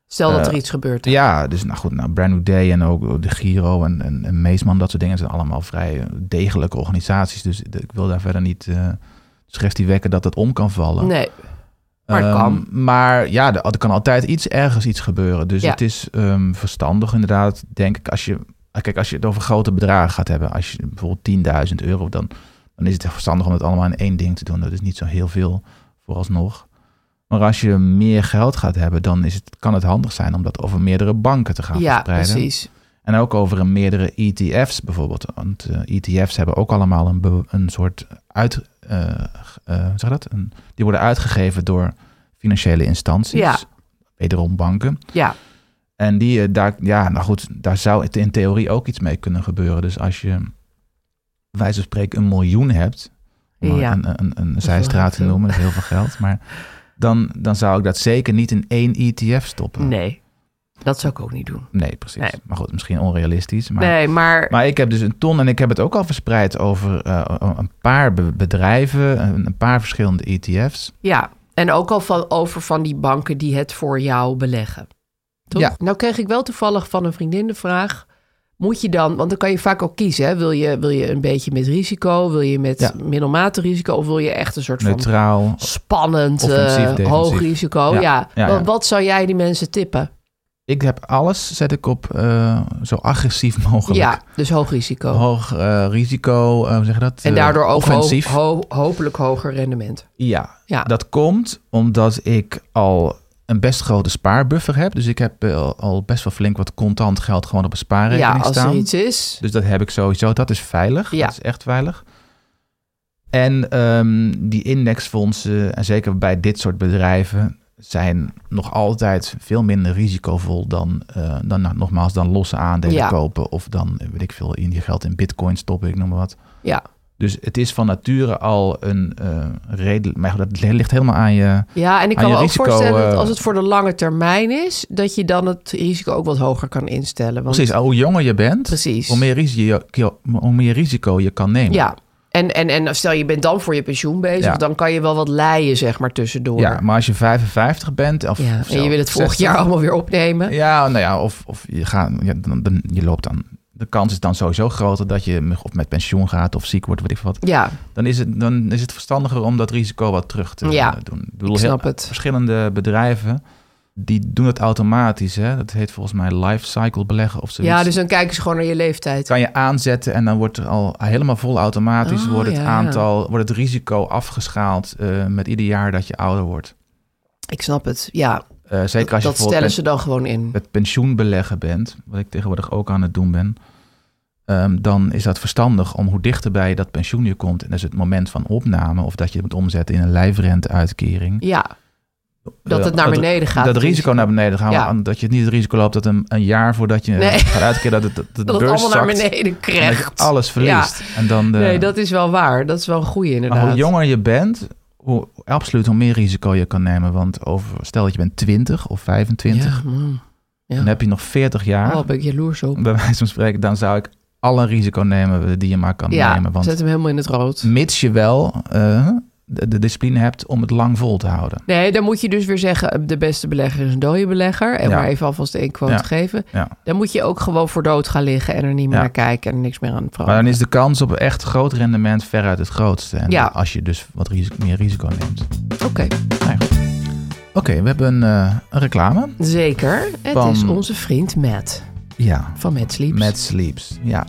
Speaker 3: stel dat
Speaker 2: Eh,
Speaker 3: er iets gebeurt.
Speaker 2: Ja, dus nou goed, nou, Brand New Day en ook de Giro en, en, en Meesman, dat soort dingen zijn allemaal vrij eh, degelijke organisaties. Dus de- ik wil daar verder niet eh suggestie wekken dat het om kan vallen.
Speaker 3: nee, maar het
Speaker 2: Ehm,
Speaker 3: kan.
Speaker 2: Maar ja, er, er kan altijd iets ergens iets gebeuren. Dus
Speaker 3: Ja.
Speaker 2: het is ehm, verstandig inderdaad, denk ik, als je, ah, kijk, als je het over grote bedragen gaat hebben, als je bijvoorbeeld 10.000 euro, dan, dan is het verstandig om het allemaal in één ding te doen. Dat is niet zo heel veel vooralsnog. Maar als je meer geld gaat hebben, dan is het, kan het handig zijn om dat over meerdere banken te gaan
Speaker 3: ja,
Speaker 2: verspreiden.
Speaker 3: precies.
Speaker 2: En ook over een meerdere ETF's bijvoorbeeld. Want eh, ETF's hebben ook allemaal een, be- een soort uit. eh, g- eh, hoe zeg je dat? Een, die worden uitgegeven door financiële instanties.
Speaker 3: Ja.
Speaker 2: Wederom banken.
Speaker 3: Ja,
Speaker 2: En die, eh, daar, ja, nou goed, daar zou het in theorie ook iets mee kunnen gebeuren. Dus als je, bij wijze van spreken, een miljoen hebt. Om maar
Speaker 3: Ja.
Speaker 2: een, een, een
Speaker 3: wel
Speaker 2: zijstraat
Speaker 3: heel
Speaker 2: te
Speaker 3: veel.
Speaker 2: noemen, dat is heel veel
Speaker 3: *laughs*
Speaker 2: geld. Maar dan, dan zou ik dat zeker niet in één ETF stoppen.
Speaker 3: nee. Dat zou ik ook niet doen.
Speaker 2: Nee, precies.
Speaker 3: Nee.
Speaker 2: Maar goed, misschien onrealistisch. Maar
Speaker 3: nee, maar
Speaker 2: maar ik heb dus een ton en ik heb het ook al verspreid over eh, een paar be- bedrijven, een, een paar verschillende E ETF's.
Speaker 3: Ja, en ook al van, over van die banken die het voor jou beleggen. Toch?
Speaker 2: Ja.
Speaker 3: Nou kreeg ik wel toevallig van een vriendin de vraag... moet je dan, want dan kan je vaak ook kiezen... Hè? Wil, je, wil je een beetje met risico, wil je met
Speaker 2: Ja.
Speaker 3: middelmatig risico... of wil je echt een soort van
Speaker 2: Neutraal.
Speaker 3: spannend, eh,
Speaker 2: Offensief, defensief.
Speaker 3: hoog risico?
Speaker 2: Ja.
Speaker 3: Ja.
Speaker 2: Ja,
Speaker 3: Wat,
Speaker 2: ja.
Speaker 3: wat zou jij die mensen tippen?
Speaker 2: Ik heb alles, zet ik op eh, zo agressief *laughs* mogelijk.
Speaker 3: Ja, dus hoog risico.
Speaker 2: Hoog eh, risico, eh, hoe zeg je dat?
Speaker 3: en
Speaker 2: Eh,
Speaker 3: daardoor ook ho-
Speaker 2: offensief.
Speaker 3: ho- hopelijk hoger rendement.
Speaker 2: ja,
Speaker 3: Ja.
Speaker 2: dat komt omdat ik al een best grote spaarbuffer heb. Dus ik heb eh, al best wel flink wat contant geld gewoon op een spaarrekening
Speaker 3: ja, als
Speaker 2: staan.
Speaker 3: er iets is.
Speaker 2: Dus dat heb ik sowieso. Dat is veilig.
Speaker 3: Ja.
Speaker 2: Dat is echt veilig. En ehm, die indexfondsen, en zeker bij dit soort bedrijven, zijn nog altijd veel minder risicovol dan, eh, dan nou, nogmaals, dan losse aandelen
Speaker 3: Ja.
Speaker 2: kopen. Of dan, eh, weet ik veel, in je geld in bitcoin stoppen, ik noem maar wat.
Speaker 3: Ja.
Speaker 2: Dus het is van nature al een eh reden. Maar goed, dat ligt helemaal aan je.
Speaker 3: Ja, en ik
Speaker 2: Aan
Speaker 3: kan
Speaker 2: je
Speaker 3: me ook
Speaker 2: risico,
Speaker 3: voorstellen dat
Speaker 2: eh,
Speaker 3: als het voor de lange termijn is, dat je dan het risico ook wat hoger kan instellen. Want,
Speaker 2: Precies, hoe jonger je bent,
Speaker 3: Precies.
Speaker 2: Hoe, meer risico, hoe meer risico je kan nemen.
Speaker 3: Ja. En, en, en stel je bent dan voor je pensioen bezig,
Speaker 2: Ja.
Speaker 3: dan kan je wel wat leien, zeg maar, tussendoor.
Speaker 2: Ja, maar als je 55 bent of,
Speaker 3: Ja,
Speaker 2: of
Speaker 3: en je
Speaker 2: zelf
Speaker 3: wil het volgend
Speaker 2: 60,
Speaker 3: jaar allemaal weer opnemen.
Speaker 2: Ja, nou ja, of, of je, gaat, ja, dan, dan- je loopt dan. De kans is dan sowieso groter dat je met- of met pensioen gaat of ziek wordt, weet ik veel wat.
Speaker 3: Ja,
Speaker 2: Dan is het, dan is het verstandiger om dat risico wat terug te
Speaker 3: Ja,
Speaker 2: eh, doen. bedoel,
Speaker 3: ik snap het.
Speaker 2: Verschillende bedrijven, die doen het automatisch. Hè? Dat heet volgens mij life cycle beleggen of zoiets.
Speaker 3: ja, dus dan kijken ze gewoon naar je leeftijd.
Speaker 2: kan je aanzetten en dan wordt er al helemaal vol automatisch
Speaker 3: Oh,
Speaker 2: wordt het
Speaker 3: ja.
Speaker 2: aantal, wordt het risico afgeschaald eh, met ieder jaar dat je ouder wordt.
Speaker 3: Ik snap het, ja.
Speaker 2: Eh, zeker als je
Speaker 3: dat
Speaker 2: bijvoorbeeld
Speaker 3: stellen
Speaker 2: met,
Speaker 3: ze dan gewoon in.
Speaker 2: met pensioen beleggen bent, wat ik tegenwoordig ook aan het doen ben, ehm, dan is dat verstandig om hoe dichterbij dat pensioen je komt en dus het moment van opname of dat je het moet omzetten in een lijfrenteuitkering.
Speaker 3: Ja, dat het
Speaker 2: eh,
Speaker 3: naar beneden gaat.
Speaker 2: Dat risico naar beneden gaat,
Speaker 3: Ja.
Speaker 2: maar dat je niet het risico loopt dat een, een jaar voordat je
Speaker 3: Nee.
Speaker 2: gaat uitkeren dat het, dat de
Speaker 3: *laughs* Dat het
Speaker 2: beurs
Speaker 3: allemaal naar
Speaker 2: zakt en
Speaker 3: beneden
Speaker 2: dat je
Speaker 3: krijgt.
Speaker 2: alles verliest. En dan de,
Speaker 3: Nee, dat is wel waar. Dat is wel een goeie inderdaad.
Speaker 2: Maar hoe jonger je bent, hoe, absoluut hoe meer risico je kan nemen. Want over, stel dat je bent 20 of 25,
Speaker 3: Ja, man. ja.
Speaker 2: dan heb je nog 40 jaar.
Speaker 3: Oh, ben ik jaloers op.
Speaker 2: *laughs* Bij wijze van spreken, dan zou ik alle risico nemen die je maar kan
Speaker 3: Ja,
Speaker 2: nemen. Want
Speaker 3: zet hem helemaal in het rood.
Speaker 2: mits je wel eh, de, de discipline hebt om het lang vol te houden.
Speaker 3: Nee, dan moet je dus weer zeggen, de beste belegger is een dode belegger. En
Speaker 2: Ja.
Speaker 3: maar even alvast één quote
Speaker 2: Ja.
Speaker 3: geven.
Speaker 2: Ja.
Speaker 3: Dan moet je ook gewoon voor dood gaan liggen en er niet meer
Speaker 2: Ja.
Speaker 3: naar kijken en niks meer aan
Speaker 2: Maar
Speaker 3: veranderen.
Speaker 2: dan is de kans op echt groot rendement veruit het grootste. En
Speaker 3: Ja.
Speaker 2: als je dus wat risico, meer risico neemt.
Speaker 3: Oké,
Speaker 2: Nou ja, goed. Oké, we hebben een, eh, een reclame.
Speaker 3: zeker. Het
Speaker 2: Van-
Speaker 3: is onze vriend Matt
Speaker 2: Ja,
Speaker 3: van Matt Sleeps.
Speaker 2: Mad Sleeps. Ja,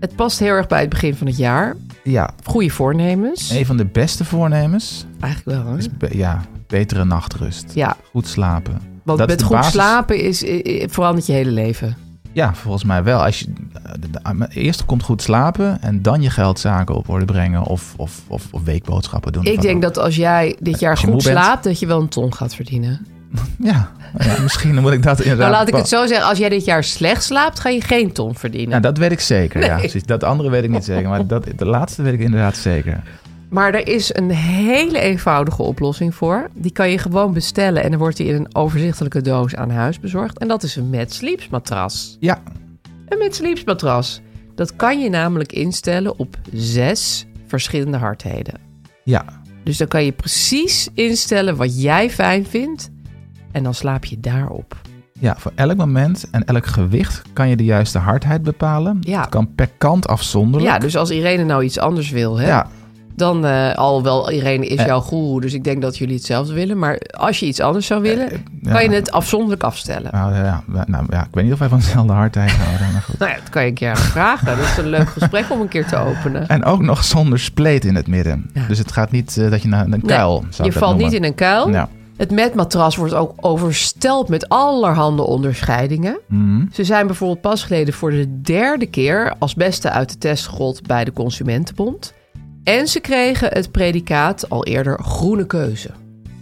Speaker 3: Het past heel erg bij het begin van het jaar.
Speaker 2: ja,
Speaker 3: Goede voornemens.
Speaker 2: een van de beste voornemens.
Speaker 3: Eigenlijk wel, hè?
Speaker 2: Is be- ja, betere nachtrust.
Speaker 3: Ja,
Speaker 2: Goed slapen.
Speaker 3: want
Speaker 2: Dat is
Speaker 3: met
Speaker 2: de
Speaker 3: goed
Speaker 2: basis.
Speaker 3: slapen is, eh, eh, verandert je hele leven.
Speaker 2: Ja, volgens mij wel. Als je, eh, de- de- maar eerst komt goed slapen en dan je geldzaken op orde brengen of, of, of, of weekboodschappen doen.
Speaker 3: Ik
Speaker 2: Van-
Speaker 3: denk dat als jij dit jaar
Speaker 2: Als je
Speaker 3: goed
Speaker 2: moe bent.
Speaker 3: slaapt, dat je wel een ton gaat verdienen.
Speaker 2: Ja, ja, misschien moet ik dat inderdaad...
Speaker 3: Nou, laat ik het zo zeggen. Als jij dit jaar slecht slaapt, ga je geen ton verdienen.
Speaker 2: Ja, dat weet ik zeker. Ja, precies. Dat andere weet ik niet zeker, maar dat, de laatste weet ik inderdaad zeker.
Speaker 3: Maar er is een hele eenvoudige oplossing voor. Die kan je gewoon bestellen en dan wordt die in een overzichtelijke doos aan huis bezorgd. En dat is een Mad Sleeps matras.
Speaker 2: Ja,
Speaker 3: Een Mad Sleeps matras. Dat kan je namelijk instellen op zes verschillende hardheden.
Speaker 2: ja.
Speaker 3: Dus dan kan je precies instellen wat jij fijn vindt. En dan slaap je daarop.
Speaker 2: Ja, voor elk moment en elk gewicht kan je de juiste hardheid bepalen.
Speaker 3: Ja.
Speaker 2: Het kan per kant afzonderlijk.
Speaker 3: Ja, dus als Irene nou iets anders wil, hè,
Speaker 2: ja,
Speaker 3: dan eh, al wel Irene is
Speaker 2: Eh.
Speaker 3: jouw goeroe. Dus ik denk dat jullie hetzelfde willen. Maar als je iets anders zou willen,
Speaker 2: Eh, ja.
Speaker 3: kan je het afzonderlijk afstellen.
Speaker 2: Nou, ja, nou, ja, ik weet niet of wij van dezelfde hardheid houden, maar goed.
Speaker 3: Nou ja, dat kan je een keer aan hem vragen. Dat is een leuk gesprek om een keer te openen.
Speaker 2: En ook nog zonder spleet in het midden.
Speaker 3: Ja.
Speaker 2: Dus het gaat niet eh, dat je naar een
Speaker 3: Nee,
Speaker 2: kuil zou
Speaker 3: je valt niet in een kuil.
Speaker 2: Ja.
Speaker 3: Het matmatras wordt ook oversteld met allerhande onderscheidingen.
Speaker 2: Hm. Mhm.
Speaker 3: Ze zijn bijvoorbeeld pas geleden voor de derde keer als beste uit de test gerold bij de Consumentenbond. En ze kregen het predicaat al eerder groene keuze.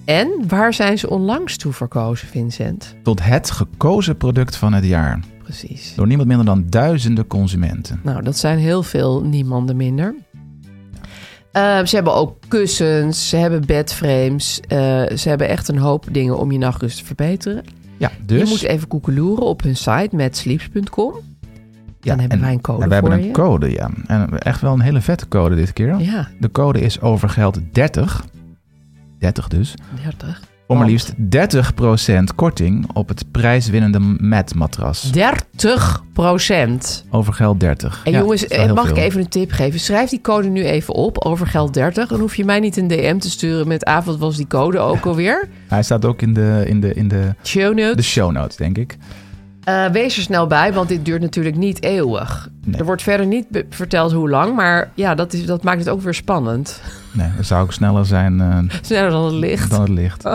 Speaker 3: En waar zijn ze onlangs toe verkozen, Vincent?
Speaker 2: Tot het gekozen product van het jaar.
Speaker 3: Precies.
Speaker 2: Door niemand minder dan duizenden consumenten.
Speaker 3: Nou, dat zijn heel veel niemanden minder. Eh, ze hebben ook kussens, ze hebben bedframes. eh, ze hebben echt een hoop dingen om je nachtrust te verbeteren.
Speaker 2: Ja, dus.
Speaker 3: Je moet even koekeloeren op hun site matsleeps.com. dan hebben wij een code
Speaker 2: en we hebben
Speaker 3: voor
Speaker 2: een
Speaker 3: je.
Speaker 2: code, ja. En echt wel een hele vette code dit keer.
Speaker 3: Ja,
Speaker 2: De code is overgeld 30. 30 dus.
Speaker 3: 30.
Speaker 2: Om maar
Speaker 3: Want-
Speaker 2: liefst 30% korting op het prijswinnende mat matras.
Speaker 3: 30 procent.
Speaker 2: Overgeld 30.
Speaker 3: En
Speaker 2: Ja,
Speaker 3: jongens, eh,
Speaker 2: dat is wel heel
Speaker 3: mag ik
Speaker 2: veel.
Speaker 3: even een tip geven? Schrijf die code nu even op, over geld 30. Dan hoef je mij niet een DM te sturen met... Ah, wat was die code ook alweer?
Speaker 2: Hij staat ook in de, in de, in de,
Speaker 3: Show
Speaker 2: de
Speaker 3: notes.
Speaker 2: show notes, denk ik.
Speaker 3: Eh, wees er snel bij, want dit duurt natuurlijk niet eeuwig.
Speaker 2: Nee.
Speaker 3: Er wordt verder niet be- verteld hoe lang, maar ja, dat, is, dat maakt het ook weer spannend. *laughs*
Speaker 2: Nee, dat zou ook sneller zijn eh,
Speaker 3: Sneller dan het licht. *laughs*
Speaker 2: dan het licht.
Speaker 3: Oh.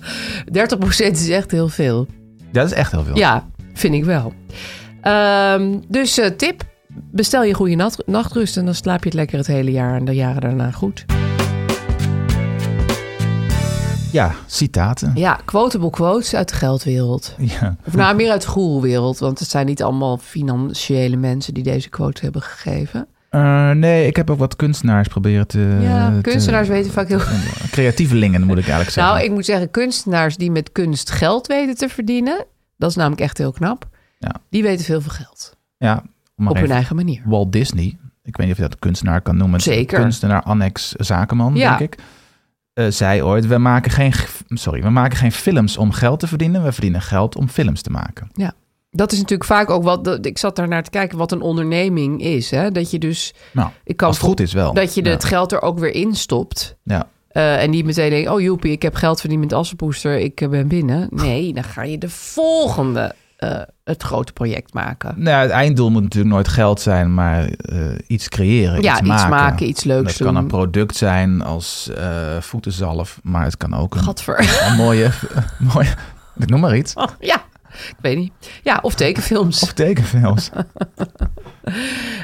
Speaker 3: 30% is echt heel veel.
Speaker 2: Dat is echt heel veel.
Speaker 3: Ja, vind ik wel. Ehm, dus eh, tip, bestel je goede nat- nachtrust en dan slaap je het lekker het hele jaar en de jaren daarna goed.
Speaker 2: Ja, citaten.
Speaker 3: Ja, quotable quotes uit de geldwereld.
Speaker 2: Ja.
Speaker 3: Of nou, meer uit de goeroewereld, want het zijn niet allemaal financiële mensen die deze quotes hebben gegeven.
Speaker 2: Eh, nee, ik heb ook wat kunstenaars proberen te...
Speaker 3: ja,
Speaker 2: te-
Speaker 3: kunstenaars weten vaak heel
Speaker 2: Creatievelingen moet ik eigenlijk zeggen.
Speaker 3: *laughs* Nou, ik moet zeggen, kunstenaars die met kunst geld weten te verdienen, dat is namelijk echt heel knap.
Speaker 2: Ja.
Speaker 3: Die weten veel van geld.
Speaker 2: ja, om maar
Speaker 3: op hun
Speaker 2: even-
Speaker 3: eigen manier.
Speaker 2: Walt Disney. Ik weet niet of je dat kunstenaar kan noemen.
Speaker 3: Zeker.
Speaker 2: Kunstenaar Annex Zakenman,
Speaker 3: Ja.
Speaker 2: denk ik. Eh, zei ooit, we maken, geen, g- sorry, we maken geen films om geld te verdienen. We verdienen geld om films te maken.
Speaker 3: Dat is natuurlijk vaak ook wat. dat- Ik zat daar naar te kijken wat een onderneming is. Hè? Dat je dus.
Speaker 2: Nou,
Speaker 3: Ik kan
Speaker 2: als het goed is wel.
Speaker 3: Dat je
Speaker 2: Ja.
Speaker 3: het geld er ook weer in stopt.
Speaker 2: Ja.
Speaker 3: Eh, en niet meteen denkt: oh joepie, ik heb geld verdiend met assenpoester, ik eh, ben
Speaker 2: *laughs*
Speaker 3: binnen. Nee, dan ga je de volgende. eh, het grote project maken.
Speaker 2: Nou, ja, het einddoel moet natuurlijk nooit geld zijn, maar eh, iets creëren,
Speaker 3: ja,
Speaker 2: iets
Speaker 3: iets
Speaker 2: maken.
Speaker 3: maken. iets leuks
Speaker 2: dat kan een
Speaker 3: doen.
Speaker 2: product zijn als eh, voetenzalf, maar het kan ook een,
Speaker 3: Gadver. *laughs*
Speaker 2: een mooie, *laughs* mooie, ik noem maar iets,
Speaker 3: ja, ik weet niet. Ja, of tekenfilms.
Speaker 2: of
Speaker 3: *laughs*
Speaker 2: tekenfilms.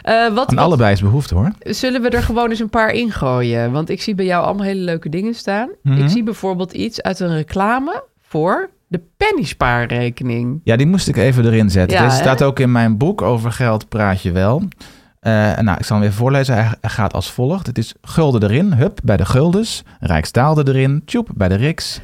Speaker 3: Eh, wat,
Speaker 2: Aan
Speaker 3: wat-
Speaker 2: allebei is behoefte hoor.
Speaker 3: Zullen we er gewoon eens een paar ingooien? Want ik zie bij jou allemaal hele leuke dingen staan.
Speaker 2: Mhm.
Speaker 3: Ik zie bijvoorbeeld iets uit een reclame voor de penny spaarrekening.
Speaker 2: Ja, die moest ik even erin zetten.
Speaker 3: Ja,
Speaker 2: Deze
Speaker 3: hè?
Speaker 2: staat ook in mijn boek over geld praat je wel. Eh, nou, ik zal hem weer voorlezen. Hij hij gaat als volgt. Het is gulden erin, hup, bij de guldens. Rijksdaalde erin, tjoep, bij de riks.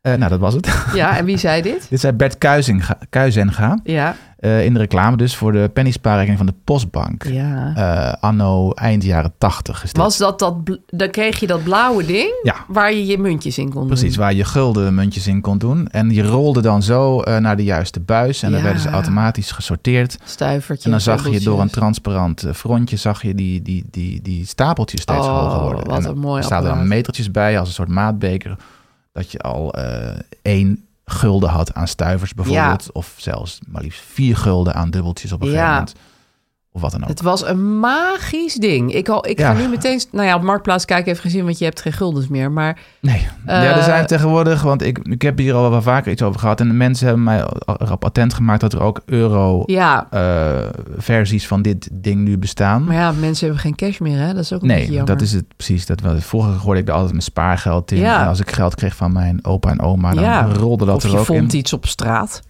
Speaker 2: Eh, nou, dat was het. *laughs*
Speaker 3: Ja, en wie zei dit?
Speaker 2: Dit zei Bert Kuizinga, Kuizenga
Speaker 3: Ja,
Speaker 2: eh, in de reclame dus voor de penny-spaarrekening van de Postbank.
Speaker 3: ja.
Speaker 2: Eh, anno eind jaren tachtig is dit.
Speaker 3: Was dat dat... bl- Dan kreeg je dat blauwe ding
Speaker 2: Ja,
Speaker 3: waar je je muntjes in kon
Speaker 2: precies.
Speaker 3: doen.
Speaker 2: Waar je gulden muntjes in kon doen. En je rolde dan zo eh, naar de juiste buis. En dan
Speaker 3: Ja.
Speaker 2: werden ze automatisch gesorteerd.
Speaker 3: Stuivertje.
Speaker 2: En dan zag je door een
Speaker 3: bubbeltjes.
Speaker 2: transparant eh, frontje zag je die, die, die, die stapeltjes steeds
Speaker 3: Oh,
Speaker 2: hoger worden.
Speaker 3: wat
Speaker 2: en
Speaker 3: een mooi
Speaker 2: Er staan er dan
Speaker 3: apparaat.
Speaker 2: metertjes bij als een soort maatbeker. Dat je al eh, één gulden had aan stuivers bijvoorbeeld. Of zelfs maar liefst vier gulden aan dubbeltjes op een gegeven
Speaker 3: Ja.
Speaker 2: moment. Of wat dan ook.
Speaker 3: Het was een magisch ding. Ik, al, ik
Speaker 2: Ja.
Speaker 3: ga nu meteen... Nou ja, op Marktplaats kijken even gezien, want je hebt geen guldens meer. Maar
Speaker 2: Nee. ja, er
Speaker 3: Eh,
Speaker 2: zijn tegenwoordig, want ik, ik heb hier al wel vaker iets over gehad. En de mensen hebben mij al- al rap attent gemaakt dat er ook euro
Speaker 3: ja,
Speaker 2: eh, versies van dit ding nu bestaan.
Speaker 3: maar ja, mensen hebben geen cash meer, hè? Dat is ook een beetje
Speaker 2: Nee,
Speaker 3: jammer.
Speaker 2: dat is het precies. Dat, wel- vroeger hoorde ik er altijd mijn spaargeld in.
Speaker 3: Ja.
Speaker 2: En als ik geld kreeg van mijn opa en oma, dan
Speaker 3: Ja.
Speaker 2: rolde dat
Speaker 3: of
Speaker 2: er
Speaker 3: je
Speaker 2: ook in.
Speaker 3: vond iets op straat.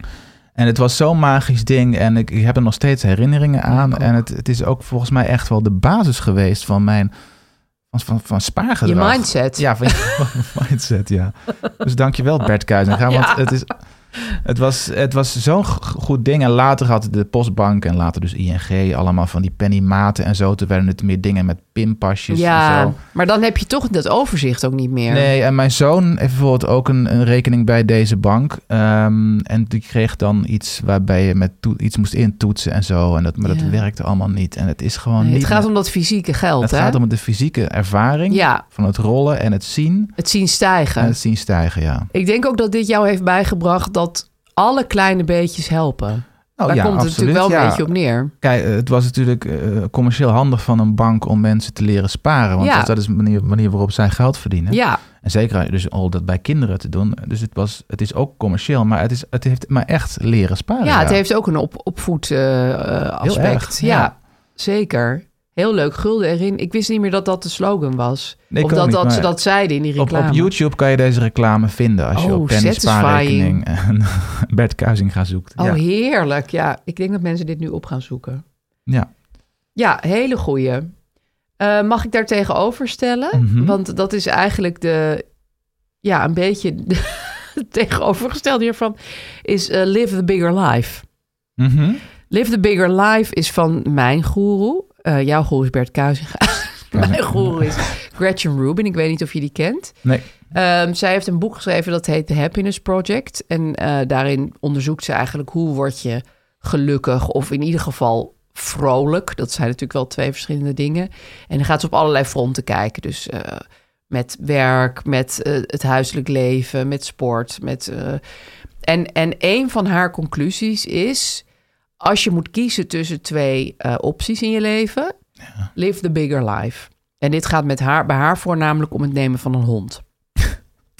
Speaker 2: En het was zo'n magisch ding. En ik, ik heb er nog steeds herinneringen aan.
Speaker 3: ook.
Speaker 2: En het, het is ook volgens mij echt wel de basis geweest van mijn van, van, van
Speaker 3: Je
Speaker 2: spaargedrag.
Speaker 3: mindset.
Speaker 2: Ja, van
Speaker 3: *laughs*
Speaker 2: je mindset, ja. Dus dankjewel Bert Kuizinga, want
Speaker 3: Ja.
Speaker 2: het, is, het was, het was zo'n g- goed ding. En later had de postbank en later dus ING allemaal van die pennymaten en zo. Toen werden het meer dingen met pinpasjes
Speaker 3: Ja,
Speaker 2: en zo.
Speaker 3: maar dan heb je toch dat overzicht ook niet meer.
Speaker 2: Nee, en mijn zoon heeft bijvoorbeeld ook een, een rekening bij deze bank. Ehm, en die kreeg dan iets waarbij je met toe- iets moest intoetsen en zo. En dat, maar
Speaker 3: Ja.
Speaker 2: dat werkte allemaal niet. En het is gewoon
Speaker 3: Nee,
Speaker 2: niet...
Speaker 3: het gaat
Speaker 2: meer-
Speaker 3: om dat fysieke geld,
Speaker 2: het
Speaker 3: hè?
Speaker 2: gaat om de fysieke ervaring
Speaker 3: Ja,
Speaker 2: van het rollen en het zien.
Speaker 3: het zien stijgen.
Speaker 2: En het zien stijgen, ja.
Speaker 3: Ik denk ook dat dit jou heeft bijgebracht dat alle kleine beetjes helpen.
Speaker 2: Nou,
Speaker 3: Daar
Speaker 2: ja,
Speaker 3: komt het
Speaker 2: absoluut,
Speaker 3: natuurlijk wel
Speaker 2: ja.
Speaker 3: een beetje op neer.
Speaker 2: Kijk, eh, het was natuurlijk eh, commercieel handig van een bank om mensen te leren sparen. Want
Speaker 3: Ja.
Speaker 2: dat, dat is de manier, manier waarop zij geld verdienen.
Speaker 3: Ja,
Speaker 2: En zeker dus al dat bij kinderen te doen. Dus het, was, het is ook commercieel, maar het, is, het heeft maar echt leren sparen.
Speaker 3: ja het heeft ook een op, opvoed eh, eh, aspect.
Speaker 2: erg,
Speaker 3: ja.
Speaker 2: ja.
Speaker 3: zeker. Heel leuk, gulden erin. Ik wist niet meer dat dat de slogan was.
Speaker 2: Nee, ik
Speaker 3: of
Speaker 2: ook
Speaker 3: dat,
Speaker 2: niet,
Speaker 3: dat ze
Speaker 2: maar
Speaker 3: dat zeiden in die
Speaker 2: op,
Speaker 3: reclame.
Speaker 2: op YouTube kan je deze reclame vinden als je
Speaker 3: Oh,
Speaker 2: op Penny
Speaker 3: satisfying.
Speaker 2: Spaarrekening en *laughs* Bert Kuizinga zoekt.
Speaker 3: Oh,
Speaker 2: ja.
Speaker 3: heerlijk. Ja, ik denk dat mensen dit nu op gaan zoeken.
Speaker 2: ja.
Speaker 3: Ja, hele goeie. Eh, mag ik daar tegenover stellen?
Speaker 2: Mhm.
Speaker 3: Want dat is eigenlijk de... Ja, een beetje de- *laughs* het tegenovergestelde hiervan... is eh, Live the Bigger Life.
Speaker 2: Mhm.
Speaker 3: Live the Bigger Life is van mijn goeroe. Eh, jouw goeroe is Bert Kuizinga. *laughs* mijn
Speaker 2: *laughs*
Speaker 3: goeroe is Gretchen Rubin. Ik weet niet of je die kent.
Speaker 2: Nee.
Speaker 3: Ehm, zij heeft een boek geschreven dat heet The Happiness Project. En eh, daarin onderzoekt ze eigenlijk hoe word je gelukkig of in ieder geval vrolijk. Dat zijn natuurlijk wel twee verschillende dingen. En dan gaat ze op allerlei fronten kijken. Dus eh, met werk, met eh, het huiselijk leven, met sport, met eh, En, en een van haar conclusies is: als je moet kiezen tussen twee eh, opties in je leven, live the bigger life. En dit gaat met haar, bij haar voornamelijk om het nemen van een hond.
Speaker 2: *laughs*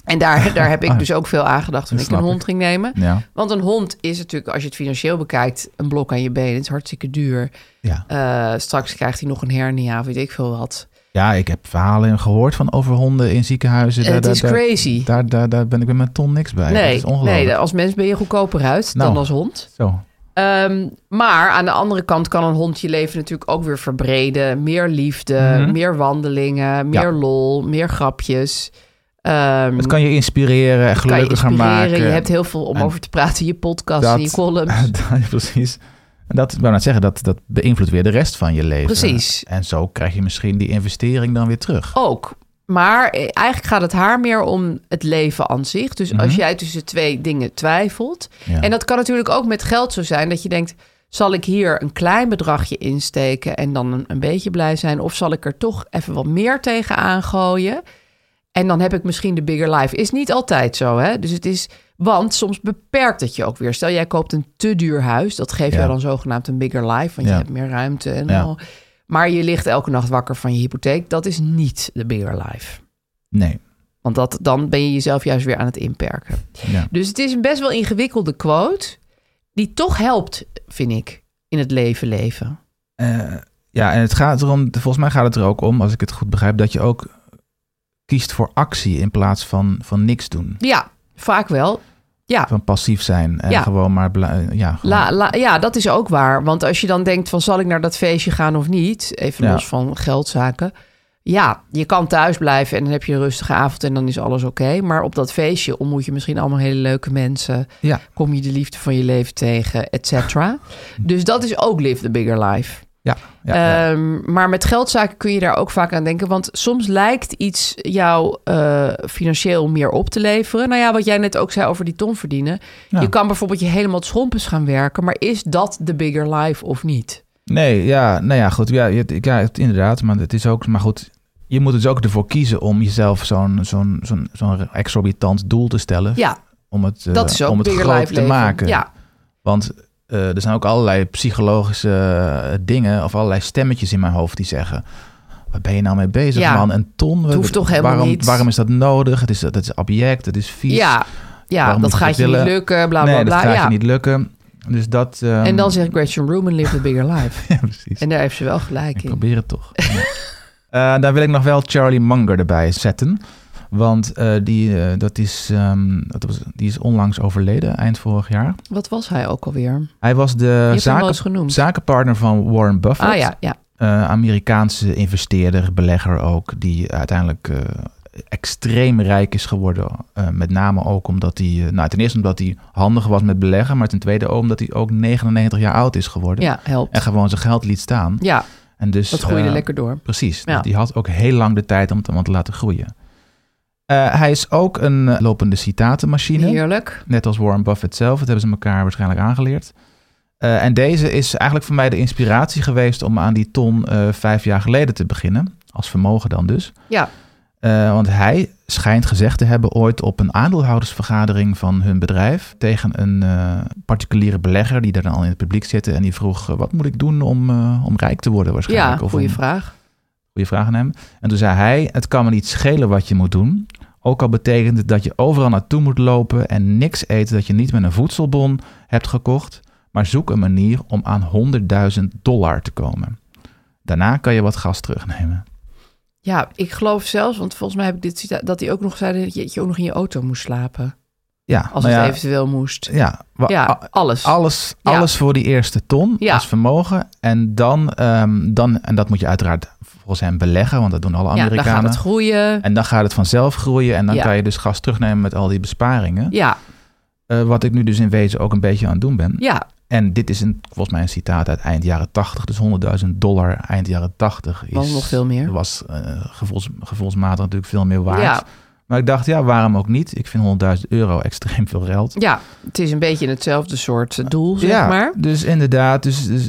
Speaker 3: en daar, daar heb ik dus ook veel aan gedacht toen
Speaker 2: Dat
Speaker 3: ik een
Speaker 2: snap
Speaker 3: hond ging nemen.
Speaker 2: Ja.
Speaker 3: Want een hond is natuurlijk, als je het financieel bekijkt, een blok aan je been. Het is hartstikke duur.
Speaker 2: Ja.
Speaker 3: Eh, straks krijgt hij nog een hernia of weet ik veel wat.
Speaker 2: ja, ik heb verhalen gehoord van over honden in ziekenhuizen. Daar,
Speaker 3: het
Speaker 2: daar,
Speaker 3: is
Speaker 2: daar,
Speaker 3: crazy.
Speaker 2: Daar, daar, daar ben ik met mijn ton niks bij. dat
Speaker 3: nee,
Speaker 2: is ongelooflijk.
Speaker 3: nee, als mens ben je goedkoper uit
Speaker 2: Nou.
Speaker 3: dan als hond.
Speaker 2: Zo.
Speaker 3: Ehm, maar aan de andere kant kan een hond je leven natuurlijk ook weer verbreden. Meer liefde, meer wandelingen, meer
Speaker 2: Mhm. Ja.
Speaker 3: lol, meer grapjes. Ehm,
Speaker 2: Het kan je inspireren en
Speaker 3: het kan je
Speaker 2: gelukkiger
Speaker 3: inspireren.
Speaker 2: maken.
Speaker 3: Je hebt heel veel om
Speaker 2: En
Speaker 3: over te praten in je podcast en je
Speaker 2: *laughs*
Speaker 3: columns.
Speaker 2: Ja, precies. En dat, ik wou net zeggen, dat, dat beïnvloedt weer de rest van je leven.
Speaker 3: Precies.
Speaker 2: En zo krijg je misschien die investering dan weer terug.
Speaker 3: Ook. Maar eh, eigenlijk gaat het haar meer om het leven aan zich. Dus als jij tussen twee dingen twijfelt.
Speaker 2: Mhm. Ja.
Speaker 3: En dat kan natuurlijk ook met geld zo zijn. Dat je denkt, zal ik hier een klein bedragje insteken en dan een, een beetje blij zijn? Of zal ik er toch even wat meer tegenaan gooien? En dan heb ik misschien de bigger life. Is niet altijd zo, hè? Dus het is... Want soms beperkt het je ook weer. Stel, jij koopt een te duur huis. Dat geeft
Speaker 2: Ja.
Speaker 3: jou dan zogenaamd een bigger life.
Speaker 2: Ja.
Speaker 3: Want je hebt meer ruimte en
Speaker 2: Ja.
Speaker 3: al. Maar je ligt elke nacht wakker van je hypotheek. Dat is niet de bigger life.
Speaker 2: Nee.
Speaker 3: Want dat, dan ben je jezelf juist weer aan het inperken.
Speaker 2: Ja.
Speaker 3: Dus het is een best wel ingewikkelde quote. Die toch helpt, vind ik, in het leven leven.
Speaker 2: Eh, ja, en het gaat erom, volgens mij gaat het er ook om, als ik het goed begrijp, dat je ook kiest voor actie in plaats van, van niks doen.
Speaker 3: Ja, vaak wel. Ja.
Speaker 2: Van passief zijn en
Speaker 3: Ja.
Speaker 2: gewoon maar... bla- eh, ja, gewoon-
Speaker 3: La, la- ja, dat is ook waar. Want als je dan denkt van zal ik naar dat feestje gaan of niet, even
Speaker 2: Ja.
Speaker 3: los van geldzaken. Ja, je kan thuis blijven en dan heb je een rustige avond en dan is alles oké. Maar op dat feestje ontmoet je misschien allemaal hele leuke mensen.
Speaker 2: Ja.
Speaker 3: Kom je de liefde van je leven tegen, et cetera. Dus dat is ook live the bigger life.
Speaker 2: ja, ja, ja.
Speaker 3: Ehm, maar met geldzaken kun je daar ook vaak aan denken. Want soms lijkt iets jou eh, financieel meer op te leveren. Nou ja, wat jij net ook zei over die ton verdienen.
Speaker 2: Ja.
Speaker 3: Je kan bijvoorbeeld je helemaal het schompens gaan werken. Maar is dat de bigger life of niet?
Speaker 2: Nee, ja, nou ja, goed. Ja, je- ja, het- inderdaad, maar het is ook... Maar goed, je moet dus ook ervoor kiezen om jezelf zo'n zo'n zo'n zo'n exorbitant doel te stellen.
Speaker 3: Ja,
Speaker 2: om het, eh,
Speaker 3: dat is ook
Speaker 2: om het
Speaker 3: bigger
Speaker 2: groot te
Speaker 3: life leven.
Speaker 2: maken.
Speaker 3: Ja,
Speaker 2: Want eh, er zijn ook allerlei psychologische eh, dingen of allerlei stemmetjes in mijn hoofd die zeggen. Waar ben je nou mee bezig,
Speaker 3: Ja.
Speaker 2: man? Een ton?
Speaker 3: Het hoeft toch helemaal
Speaker 2: waarom,
Speaker 3: niet.
Speaker 2: Waarom is dat nodig? Het is, dat is abject, het is vies.
Speaker 3: ja, ja
Speaker 2: Waarom
Speaker 3: dat
Speaker 2: moet je
Speaker 3: gaat
Speaker 2: dat
Speaker 3: je niet
Speaker 2: willen?
Speaker 3: lukken, bla bla
Speaker 2: nee, dat
Speaker 3: bla.
Speaker 2: gaat
Speaker 3: ja.
Speaker 2: je niet lukken. Dus dat... ehm, *laughs*
Speaker 3: En dan zegt Gretchen Rubin, live the bigger life.
Speaker 2: Ja, precies.
Speaker 3: en daar heeft ze wel gelijk
Speaker 2: Ik
Speaker 3: in.
Speaker 2: probeer het
Speaker 3: *laughs*
Speaker 2: toch. Ja. Eh, daar wil ik nog wel Charlie Munger erbij zetten. Want eh, die, eh, dat is, ehm, dat was, die is onlangs overleden, eind vorig jaar.
Speaker 3: Wat was hij ook alweer?
Speaker 2: Hij was de
Speaker 3: hem wel
Speaker 2: zaken,
Speaker 3: eens genoemd.
Speaker 2: zakenpartner van Warren Buffett.
Speaker 3: Ah ja, ja.
Speaker 2: eh, Amerikaanse investeerder, belegger ook, die uiteindelijk eh, extreem rijk is geworden. Eh, met name ook omdat hij, eh, nou ten eerste omdat hij handig was met beleggen, maar ten tweede ook omdat hij ook 99 jaar oud is geworden.
Speaker 3: ja, helpt.
Speaker 2: En gewoon zijn geld liet staan.
Speaker 3: Ja,
Speaker 2: En dus,
Speaker 3: dat groeide
Speaker 2: eh,
Speaker 3: lekker door.
Speaker 2: Precies,
Speaker 3: Ja.
Speaker 2: die had ook heel lang de tijd om het allemaal te laten groeien. Eh, hij is ook een eh, lopende citatenmachine.
Speaker 3: Heerlijk.
Speaker 2: Net als Warren Buffett zelf. Dat hebben ze elkaar waarschijnlijk aangeleerd. Eh, en deze is eigenlijk voor mij de inspiratie geweest om aan die ton eh, vijf jaar geleden te beginnen. Als vermogen dan dus.
Speaker 3: Ja.
Speaker 2: Eh, want hij schijnt gezegd te hebben ooit op een aandeelhoudersvergadering van hun bedrijf. tegen een eh, particulière belegger die daar dan al in het publiek zit. En die vroeg: eh, Wat moet ik doen om, eh, om rijk te worden? Waarschijnlijk.
Speaker 3: Ja,
Speaker 2: Of
Speaker 3: goede
Speaker 2: om-
Speaker 3: vraag.
Speaker 2: Goeie vraag aan hem. En toen zei hij: Het kan me niet schelen wat je moet doen. Ook al betekent het dat je overal naartoe moet lopen en niks eten dat je niet met een voedselbon hebt gekocht. Maar zoek een manier om aan 100.000 dollar te komen. Daarna kan je wat gas terugnemen.
Speaker 3: Ja, ik geloof zelfs, want volgens mij heb ik dit cita- dat hij ook nog zei dat je, dat je ook nog in je auto moest slapen.
Speaker 2: Ja,
Speaker 3: Als
Speaker 2: nou
Speaker 3: het
Speaker 2: ja,
Speaker 3: eventueel moest.
Speaker 2: ja, wa-
Speaker 3: Ja,
Speaker 2: a-
Speaker 3: alles.
Speaker 2: alles,
Speaker 3: Ja.
Speaker 2: alles voor die eerste ton
Speaker 3: Ja.
Speaker 2: als vermogen. En dan, ehm, dan, en dat moet je uiteraard volgens hem beleggen, want dat doen alle
Speaker 3: ja, dan
Speaker 2: Amerikanen.
Speaker 3: gaat het groeien.
Speaker 2: en dan gaat het vanzelf groeien en dan
Speaker 3: Ja.
Speaker 2: kan je dus gas terugnemen met al die besparingen.
Speaker 3: Ja,
Speaker 2: Eh, wat ik nu dus in wezen ook een beetje aan het doen ben.
Speaker 3: ja,
Speaker 2: En dit is een, volgens mij een citaat uit eind jaren 80. Dus 100.000 dollar eind jaren 80 is,
Speaker 3: Was nog veel meer.
Speaker 2: Was eh, gevoels, gevoelsmatig natuurlijk veel meer waard.
Speaker 3: Ja.
Speaker 2: Maar ik dacht, ja, waarom ook niet? Ik vind 100.000 euro *laughs* extreem veel geld.
Speaker 3: ja. Het is een beetje hetzelfde soort eh, doel, zeg
Speaker 2: ja,
Speaker 3: maar.
Speaker 2: dus inderdaad. Dus, dus,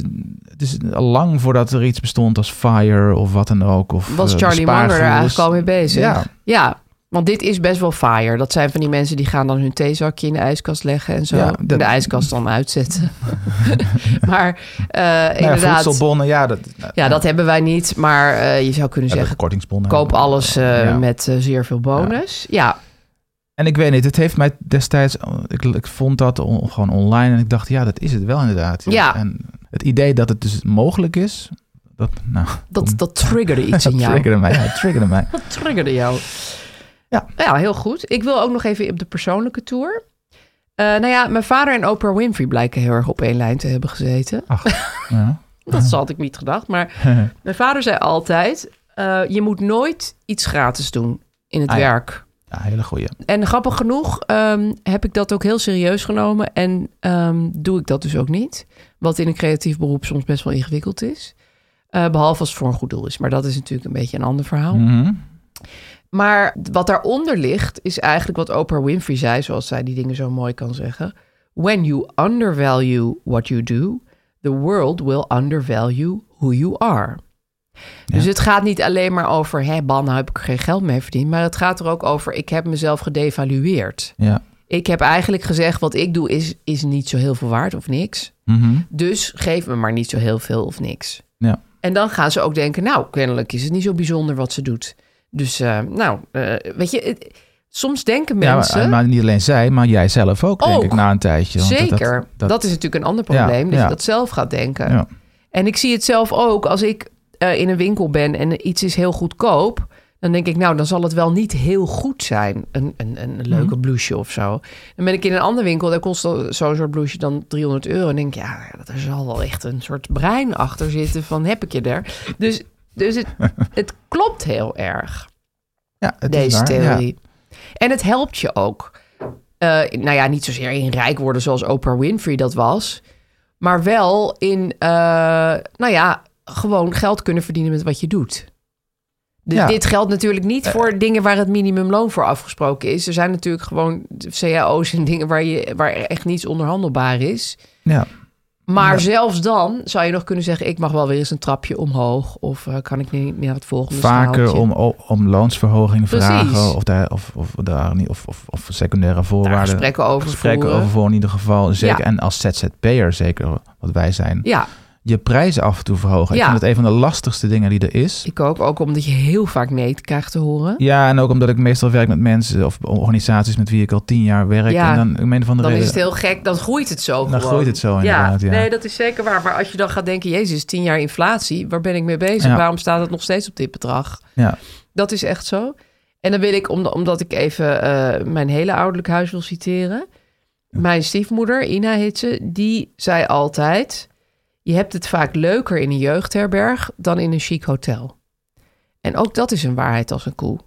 Speaker 2: het is lang voordat er iets bestond als FIRE of wat dan ook. Of,
Speaker 3: Was
Speaker 2: eh,
Speaker 3: Charlie Munger er
Speaker 2: spaargurus.
Speaker 3: eigenlijk al mee bezig?
Speaker 2: Ja.
Speaker 3: ja. Want dit is best wel fire. Dat zijn van die mensen die gaan dan hun theezakje in de ijskast leggen en zo.
Speaker 2: Ja,
Speaker 3: En
Speaker 2: dat-
Speaker 3: De ijskast
Speaker 2: *laughs*
Speaker 3: dan uitzetten. maar eh,
Speaker 2: Nou ja,
Speaker 3: inderdaad,
Speaker 2: voedselbonnen, ja. Dat,
Speaker 3: ja, dat hebben wij niet. Maar eh, je zou kunnen
Speaker 2: ja,
Speaker 3: zeggen,
Speaker 2: kortingsbonnen.
Speaker 3: koop alles eh,
Speaker 2: Ja.
Speaker 3: met eh, zeer veel bonus. Ja,
Speaker 2: En ik weet niet, het heeft mij destijds... Ik, ik vond dat on- gewoon online en ik dacht, ja, dat is het wel inderdaad.
Speaker 3: Ja.
Speaker 2: En het idee dat het dus mogelijk is... Dat, nou,
Speaker 3: dat,
Speaker 2: kom.
Speaker 3: dat triggerde iets in
Speaker 2: dat
Speaker 3: jou.
Speaker 2: triggerde mij. Ja, het triggerde
Speaker 3: *laughs*
Speaker 2: mij.
Speaker 3: Dat triggerde jou.
Speaker 2: Ja.
Speaker 3: Nou ja, heel goed. Ik wil ook nog even op de persoonlijke tour. Eh, nou ja, mijn vader en Oprah Winfrey blijken heel erg op één lijn te hebben gezeten.
Speaker 2: Ach, *laughs* ja.
Speaker 3: Dat had ik niet gedacht. Maar mijn vader zei altijd: eh, je moet nooit iets gratis doen in het
Speaker 2: Ah ja.
Speaker 3: werk.
Speaker 2: ja, hele goeie.
Speaker 3: En grappig genoeg ehm, heb ik dat ook heel serieus genomen. En ehm, doe ik dat dus ook niet. Wat in een creatief beroep soms best wel ingewikkeld is. Eh, behalve als het voor een goed doel is. Maar dat is natuurlijk een beetje een ander verhaal.
Speaker 2: Mhm.
Speaker 3: Maar wat daaronder ligt, is eigenlijk wat Oprah Winfrey zei, zoals zij die dingen zo mooi kan zeggen. When you undervalue what you do, the world will undervalue who you are. Dus het gaat niet alleen maar over, hé, ban, nou heb ik er geen geld mee verdiend. Maar het gaat er ook over, ik heb mezelf gedevalueerd.
Speaker 2: Ja.
Speaker 3: Ik heb eigenlijk gezegd, wat ik doe is, is niet zo heel veel waard of niks.
Speaker 2: Mhm.
Speaker 3: Dus geef me maar niet zo heel veel of niks.
Speaker 2: ja.
Speaker 3: En dan gaan ze ook denken, nou, kennelijk is het niet zo bijzonder wat ze doet. Dus, eh, nou, eh, weet je, het- soms denken
Speaker 2: Ja,
Speaker 3: mensen,
Speaker 2: maar, maar niet alleen zij, maar jij zelf ook, denk
Speaker 3: Ook.
Speaker 2: ik, na een tijdje. Want dat-
Speaker 3: zeker, dat, is eh, natuurlijk een ander
Speaker 2: Ja,
Speaker 3: probleem, dat
Speaker 2: ja.
Speaker 3: je dat zelf gaat denken.
Speaker 2: Ja.
Speaker 3: En ik zie het zelf ook, als ik eh, in een winkel ben en iets is heel goedkoop, dan denk ik, nou, dan zal het wel niet heel goed zijn, een, een, een leuke blouseje of zo. Dan ben ik in een andere winkel, daar kost al zo'n soort blouseje dan 300 euro. En denk ik, ja, dat er zal wel echt een soort brein achter zitten van, heb ik je er? Dus, dus het, het klopt heel erg.
Speaker 2: Ja, het is
Speaker 3: deze
Speaker 2: waar, ja.
Speaker 3: theorie. En het helpt je ook. Eh, nou ja, niet zozeer in rijk worden zoals Oprah Winfrey dat was. Maar wel in, eh, nou ja, gewoon geld kunnen verdienen met wat je doet. Dus
Speaker 2: Ja. Eh.
Speaker 3: dit geldt natuurlijk niet voor dingen waar het minimumloon voor afgesproken is. Er zijn natuurlijk gewoon cao's en dingen waar, je, waar echt niets onderhandelbaar is.
Speaker 2: Ja.
Speaker 3: Maar zelfs dan zou je nog kunnen zeggen... ik mag wel weer eens een trapje omhoog... of eh, kan ik niet naar het volgende
Speaker 2: Vaker
Speaker 3: straaltje?
Speaker 2: om, om loonsverhoging
Speaker 3: Precies.
Speaker 2: vragen of, daar, of, of, daar niet, of, of, of secundaire voorwaarden.
Speaker 3: daar gesprekken over
Speaker 2: Gesprekken
Speaker 3: voeren.
Speaker 2: over voor in ieder geval. Zeker,
Speaker 3: Ja.
Speaker 2: En als ZZP'er, zeker wat wij zijn.
Speaker 3: Ja,
Speaker 2: Je prijzen af en toe verhogen. Ik
Speaker 3: Ja.
Speaker 2: vind dat een van de lastigste dingen die er is.
Speaker 3: ik ook. Ook omdat je heel vaak nee krijgt te horen.
Speaker 2: Ja, en ook omdat ik meestal werk met mensen of organisaties met wie ik al tien jaar werk.
Speaker 3: Ja.
Speaker 2: En dan, om een van de
Speaker 3: Dan
Speaker 2: reden,
Speaker 3: is het heel gek. Dan groeit het zo gewoon.
Speaker 2: groeit het zo inderdaad, ja.
Speaker 3: Nee, dat is zeker waar. Maar als je dan gaat denken... Jezus, tien jaar inflatie. Waar ben ik mee bezig?
Speaker 2: Ja.
Speaker 3: Waarom staat het nog steeds op dit bedrag?
Speaker 2: Ja,
Speaker 3: Dat is echt zo. En dan wil ik, omdat, omdat ik even eh, mijn hele ouderlijk huis wil citeren. Mijn stiefmoeder, Ina Hitze, die zei altijd... je hebt het vaak leuker in een jeugdherberg dan in een chic hotel. En ook dat is een waarheid als een koe.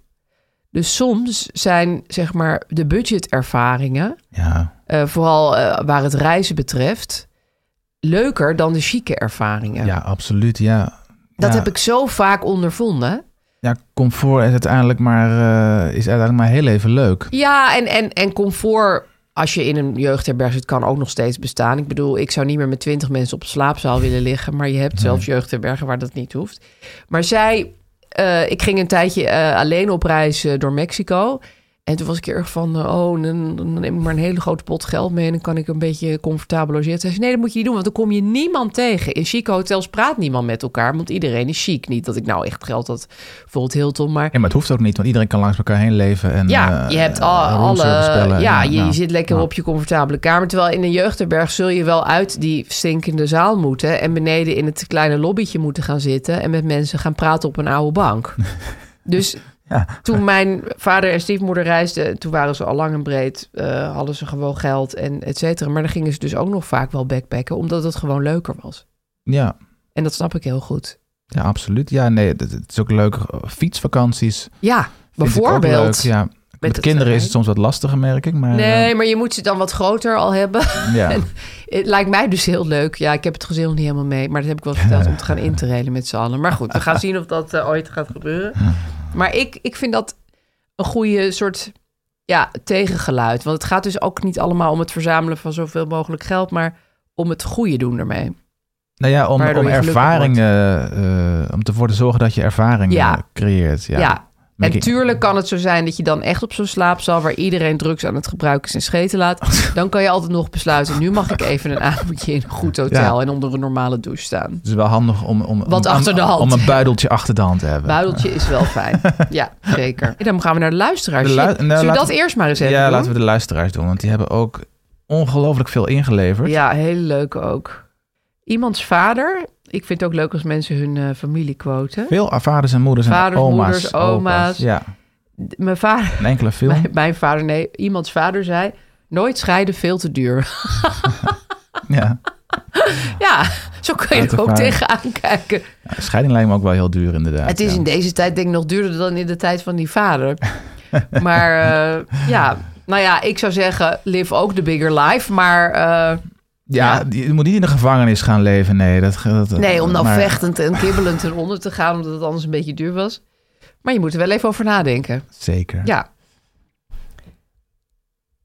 Speaker 3: Dus soms zijn, zeg maar, de budgetervaringen...
Speaker 2: ja,
Speaker 3: eh, vooral eh, waar het reizen betreft... leuker dan de chique ervaringen.
Speaker 2: ja, absoluut. Ja.
Speaker 3: Dat
Speaker 2: Ja.
Speaker 3: heb ik zo vaak ondervonden...
Speaker 2: Ja, comfort is uiteindelijk, maar, eh, is uiteindelijk maar heel even leuk.
Speaker 3: Ja, en, en, en comfort als je in een jeugdherberg zit, kan ook nog steeds bestaan. Ik bedoel, ik zou niet meer met twintig mensen op een slaapzaal willen liggen. Maar je hebt zelfs jeugdherbergen waar dat niet hoeft. Maar zij, eh, ik ging een tijdje eh, alleen op reis eh, door Mexico. En toen was ik erg van, eh, oh, dan, dan neem ik maar een hele grote pot geld mee... en dan kan ik een beetje comfortabel logeren. Zij zei, nee, dat moet je niet doen, want dan kom je niemand tegen. In chique hotels praat niemand met elkaar, want iedereen is chic. Niet dat ik nou echt geld had voor het Hilton, maar
Speaker 2: Ja, maar het hoeft ook niet, want iedereen kan langs elkaar heen leven. En,
Speaker 3: ja,
Speaker 2: eh,
Speaker 3: je hebt
Speaker 2: eh,
Speaker 3: al, alle.
Speaker 2: roomservice
Speaker 3: Ja,
Speaker 2: bellen.
Speaker 3: je, je
Speaker 2: nou,
Speaker 3: zit lekker
Speaker 2: nou.
Speaker 3: op je comfortabele kamer. Terwijl in een jeugdherberg zul je wel uit die stinkende zaal moeten. En beneden in het kleine lobbytje moeten gaan zitten. En met mensen gaan praten op een oude
Speaker 2: *laughs*
Speaker 3: bank. dus toen mijn vader en stiefmoeder reisden. Toen waren ze al lang en breed. eh, hadden ze gewoon geld en et cetera. Maar dan gingen ze dus ook nog vaak wel backpacken. Omdat het gewoon leuker was.
Speaker 2: Ja,
Speaker 3: En dat snap ik heel goed.
Speaker 2: ja, absoluut. Ja, nee, het, het is ook leuk. eh, Fietsvakanties. vind
Speaker 3: Ja,
Speaker 2: ik ook
Speaker 3: bijvoorbeeld.
Speaker 2: leuk, ja. Met,
Speaker 3: het
Speaker 2: kinderen is het
Speaker 3: terrein.
Speaker 2: soms wat lastiger, merk ik. Maar,
Speaker 3: Nee, maar je moet ze dan wat groter al hebben.
Speaker 2: eh,
Speaker 3: *laughs*
Speaker 2: ja.
Speaker 3: Het lijkt mij dus heel leuk. Ja, ik heb het gezin nog niet helemaal mee. Maar dat heb ik wel verteld om te gaan interrailen met z'n allen. Maar goed, we gaan zien of dat eh, ooit gaat gebeuren. Maar ik, ik vind dat een goede soort ja, tegengeluid. Want het gaat dus ook niet allemaal om het verzamelen van zoveel mogelijk geld. Maar om het goede doen ermee.
Speaker 2: Nou ja, om,
Speaker 3: Waardoor
Speaker 2: om
Speaker 3: je gelukkig
Speaker 2: ervaringen, eh, om ervoor te zorgen dat je ervaringen
Speaker 3: Ja.
Speaker 2: creëert. Ja.
Speaker 3: Ja. En tuurlijk kan het zo zijn dat je dan echt op zo'n slaapzaal... waar iedereen drugs aan het gebruiken is en scheten laat... dan kan je altijd nog besluiten... nu mag ik even een avondje in een goed hotel...
Speaker 2: Ja.
Speaker 3: en onder een normale douche staan.
Speaker 2: Het is wel handig om, om,
Speaker 3: Wat
Speaker 2: om,
Speaker 3: achter de hand.
Speaker 2: om een buideltje achter de hand te hebben.
Speaker 3: Buideltje is wel
Speaker 2: *laughs*
Speaker 3: fijn. Ja, zeker. En dan gaan we naar de luisteraars.
Speaker 2: De lu-
Speaker 3: Shit,
Speaker 2: nou,
Speaker 3: Zullen we
Speaker 2: laten
Speaker 3: dat
Speaker 2: we-
Speaker 3: eerst maar eens
Speaker 2: ja,
Speaker 3: even doen?
Speaker 2: laten we de luisteraars doen, want die hebben ook ongelooflijk veel ingeleverd.
Speaker 3: Ja, heel leuk ook. Iemands vader. Ik vind het ook leuk als mensen hun eh, familie quoten.
Speaker 2: Veel ah, vaders en moeders
Speaker 3: Vaders,
Speaker 2: en oma's.
Speaker 3: moeders, oma's.
Speaker 2: Ja,
Speaker 3: D- Mijn vader,
Speaker 2: een enkele film.
Speaker 3: mijn, mijn vader, nee, iemands vader zei... Nooit scheiden, veel te
Speaker 2: *laughs*
Speaker 3: duur.
Speaker 2: Ja.
Speaker 3: Ja, zo kun je
Speaker 2: Uit de
Speaker 3: er ook
Speaker 2: vader.
Speaker 3: tegenaan kijken.
Speaker 2: Ja, Scheiding lijkt me ook wel heel duur inderdaad.
Speaker 3: Het is
Speaker 2: ja.
Speaker 3: in deze tijd denk ik nog duurder dan in de tijd van die
Speaker 2: *laughs*
Speaker 3: vader. maar eh, ja, nou ja, ik zou zeggen... live ook the bigger life, maar... eh,
Speaker 2: Ja,
Speaker 3: ja.
Speaker 2: die- je moet niet in de gevangenis gaan leven, nee. Dat, dat,
Speaker 3: Nee, om nou
Speaker 2: Eh, maar-
Speaker 3: vechtend en kibbelend eronder te gaan, omdat het anders een beetje duur was. Maar je moet er wel even over nadenken.
Speaker 2: Zeker.
Speaker 3: Ja.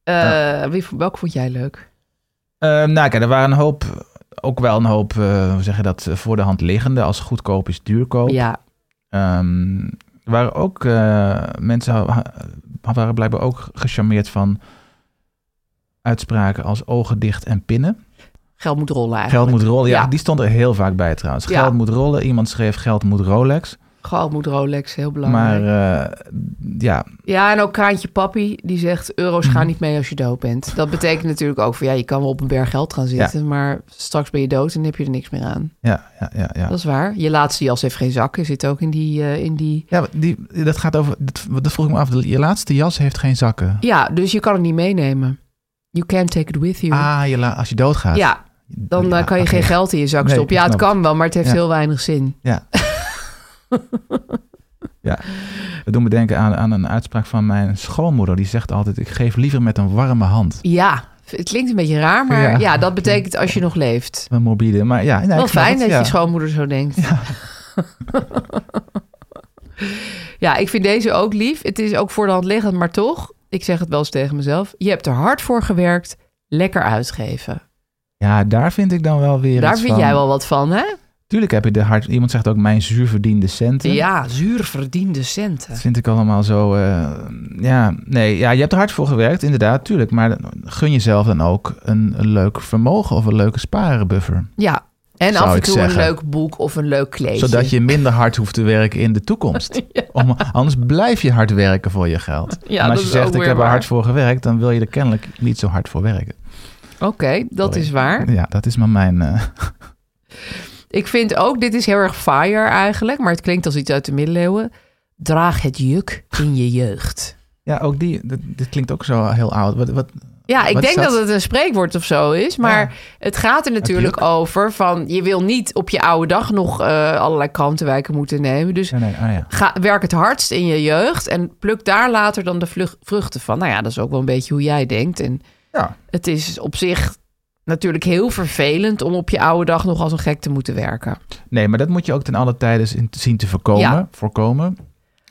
Speaker 3: Eh, wie, vo- welke vond jij leuk?
Speaker 2: Ehm, nou, kijk, er waren een hoop, ook wel een hoop, eh, hoe zeg je dat, eh, voor de hand liggende. Als goedkoop is duurkoop.
Speaker 3: Ja,
Speaker 2: Ehm, er waren ook eh, mensen ha- ha- waren blijkbaar ook gecharmeerd van uitspraken als ogen dicht en pinnen.
Speaker 3: geld moet rollen eigenlijk.
Speaker 2: Geld moet rollen. Ja,
Speaker 3: Ja.
Speaker 2: die stond er heel vaak bij trouwens.
Speaker 3: Ja.
Speaker 2: Geld moet rollen. Iemand schreef geld moet Rolex.
Speaker 3: Geld moet Rolex, heel belangrijk.
Speaker 2: Maar eh, ja,
Speaker 3: ja, en ook Kraantje Papi, die zegt euro's
Speaker 2: Mhm.
Speaker 3: gaan niet mee als je dood bent. Dat betekent natuurlijk ook van ja, je kan wel op een berg geld gaan zitten, maar straks ben je dood en heb je er niks meer aan.
Speaker 2: ja, ja, ja. ja.
Speaker 3: Dat is waar. Je laatste jas heeft geen zakken, zit ook in die, eh, in die
Speaker 2: Ja, maar die, dat gaat over. Dat, dat vroeg ik me af. Je laatste jas heeft geen zakken.
Speaker 3: Ja, dus je kan het niet meenemen. You can't take it with you.
Speaker 2: Ah, je la- als je doodgaat.
Speaker 3: ja, dan eh,
Speaker 2: Ja,
Speaker 3: kan je
Speaker 2: oké.
Speaker 3: geen geld in je zak
Speaker 2: Nee,
Speaker 3: stoppen. Ja,
Speaker 2: ik
Speaker 3: het
Speaker 2: snap
Speaker 3: kan wel, maar het heeft
Speaker 2: Ja.
Speaker 3: heel weinig zin.
Speaker 2: Ja. ja. Dat doet me denken aan, aan een uitspraak van mijn schoonmoeder. Die zegt altijd: Ik geef liever met een warme hand.
Speaker 3: Ja, het klinkt een beetje raar, maar
Speaker 2: Ja.
Speaker 3: ja, dat betekent als je nog leeft.
Speaker 2: Een mobiele. Maar ja, ja,
Speaker 3: wel
Speaker 2: ik snap
Speaker 3: fijn
Speaker 2: het,
Speaker 3: dat
Speaker 2: ja.
Speaker 3: je schoonmoeder zo denkt. *laughs* Ja. ik vind deze ook lief. Het is ook voor de hand liggend, maar toch, ik zeg het wel eens tegen mezelf. Je hebt er hard voor gewerkt, lekker uitgeven.
Speaker 2: Ja, daar vind ik dan wel weer.
Speaker 3: Daar
Speaker 2: iets
Speaker 3: vind
Speaker 2: van.
Speaker 3: jij wel wat van, hè?
Speaker 2: Tuurlijk heb je de hard. Iemand zegt ook: Mijn zuurverdiende centen.
Speaker 3: Ja, zuur verdiende centen.
Speaker 2: Dat vind ik allemaal zo. eh, ja, nee, ja, je hebt er hard voor gewerkt, inderdaad, tuurlijk. Maar gun jezelf dan ook een, een leuk vermogen of een leuke sparenbuffer.
Speaker 3: Ja, en
Speaker 2: Zou
Speaker 3: af en
Speaker 2: ik
Speaker 3: toe
Speaker 2: zeggen.
Speaker 3: een leuk boek of een leuk kleedje.
Speaker 2: Zodat je minder hard hoeft te werken in de
Speaker 3: *laughs*
Speaker 2: toekomst. Om, anders blijf je hard werken voor je geld.
Speaker 3: Ja,
Speaker 2: maar als
Speaker 3: dat
Speaker 2: je
Speaker 3: is
Speaker 2: zegt,
Speaker 3: ook
Speaker 2: ik
Speaker 3: weer
Speaker 2: heb er
Speaker 3: waar.
Speaker 2: hard voor gewerkt, dan wil je er kennelijk niet zo hard voor werken.
Speaker 3: Oké, dat
Speaker 2: Sorry.
Speaker 3: is waar.
Speaker 2: Ja, dat is maar mijn... eh, *laughs*
Speaker 3: Ik vind ook, dit is heel erg fire eigenlijk, maar het klinkt als iets uit de middeleeuwen. Draag het juk in je jeugd.
Speaker 2: ja, ook die, dit, dit klinkt ook zo heel oud. Wat, wat,
Speaker 3: Ja, ik
Speaker 2: Wat is
Speaker 3: denk dat?
Speaker 2: dat?
Speaker 3: het een spreekwoord of zo is, maar
Speaker 2: Ja.
Speaker 3: het gaat er natuurlijk
Speaker 2: juk.
Speaker 3: over van je wil niet op je oude dag nog eh, allerlei krantenwijken moeten nemen. Dus
Speaker 2: nee, nee, oh ja.
Speaker 3: ga, werk het hardst in je jeugd en pluk daar later dan de vlug- vruchten van. Nou ja, dat is ook wel een beetje hoe jij denkt. En
Speaker 2: Ja.
Speaker 3: het is op zich natuurlijk heel vervelend om op je oude dag nog als een gek te moeten werken.
Speaker 2: Nee, maar dat moet je ook ten alle tijden zien- zien te voorkomen.
Speaker 3: Ja.
Speaker 2: voorkomen.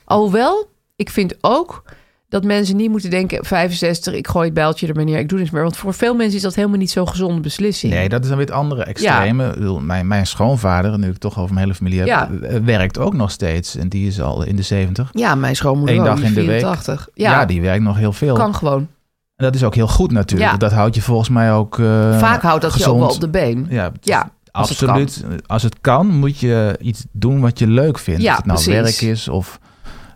Speaker 3: Alhoewel, ik vind ook dat mensen niet moeten denken... 65, ik gooi het bijltje er maar neer, ik doe niks meer. Want voor veel mensen is dat helemaal niet zo'n gezonde beslissing.
Speaker 2: Nee, dat is dan weer het andere extreme. Ik bedoel, Mijn, mijn schoonvader, nu ik het toch over mijn hele familie heb,
Speaker 3: Ja.
Speaker 2: eh, werkt ook nog steeds. En die is al in de 70.
Speaker 3: Ja, mijn schoonmoeder
Speaker 2: Eén
Speaker 3: ook,
Speaker 2: dag
Speaker 3: die
Speaker 2: in de week.
Speaker 3: 84.
Speaker 2: Ja,
Speaker 3: Ja,
Speaker 2: die werkt nog heel veel.
Speaker 3: kan gewoon.
Speaker 2: En dat is ook heel goed natuurlijk.
Speaker 3: Ja.
Speaker 2: Dat houdt je volgens mij ook eh,
Speaker 3: Vaak houdt dat je
Speaker 2: gezond.
Speaker 3: ook wel op de been.
Speaker 2: Ja, het is-
Speaker 3: Ja, als het
Speaker 2: absoluut. Als het kan, moet je iets doen wat je leuk vindt.
Speaker 3: Ja,
Speaker 2: of het nou
Speaker 3: precies.
Speaker 2: werk is of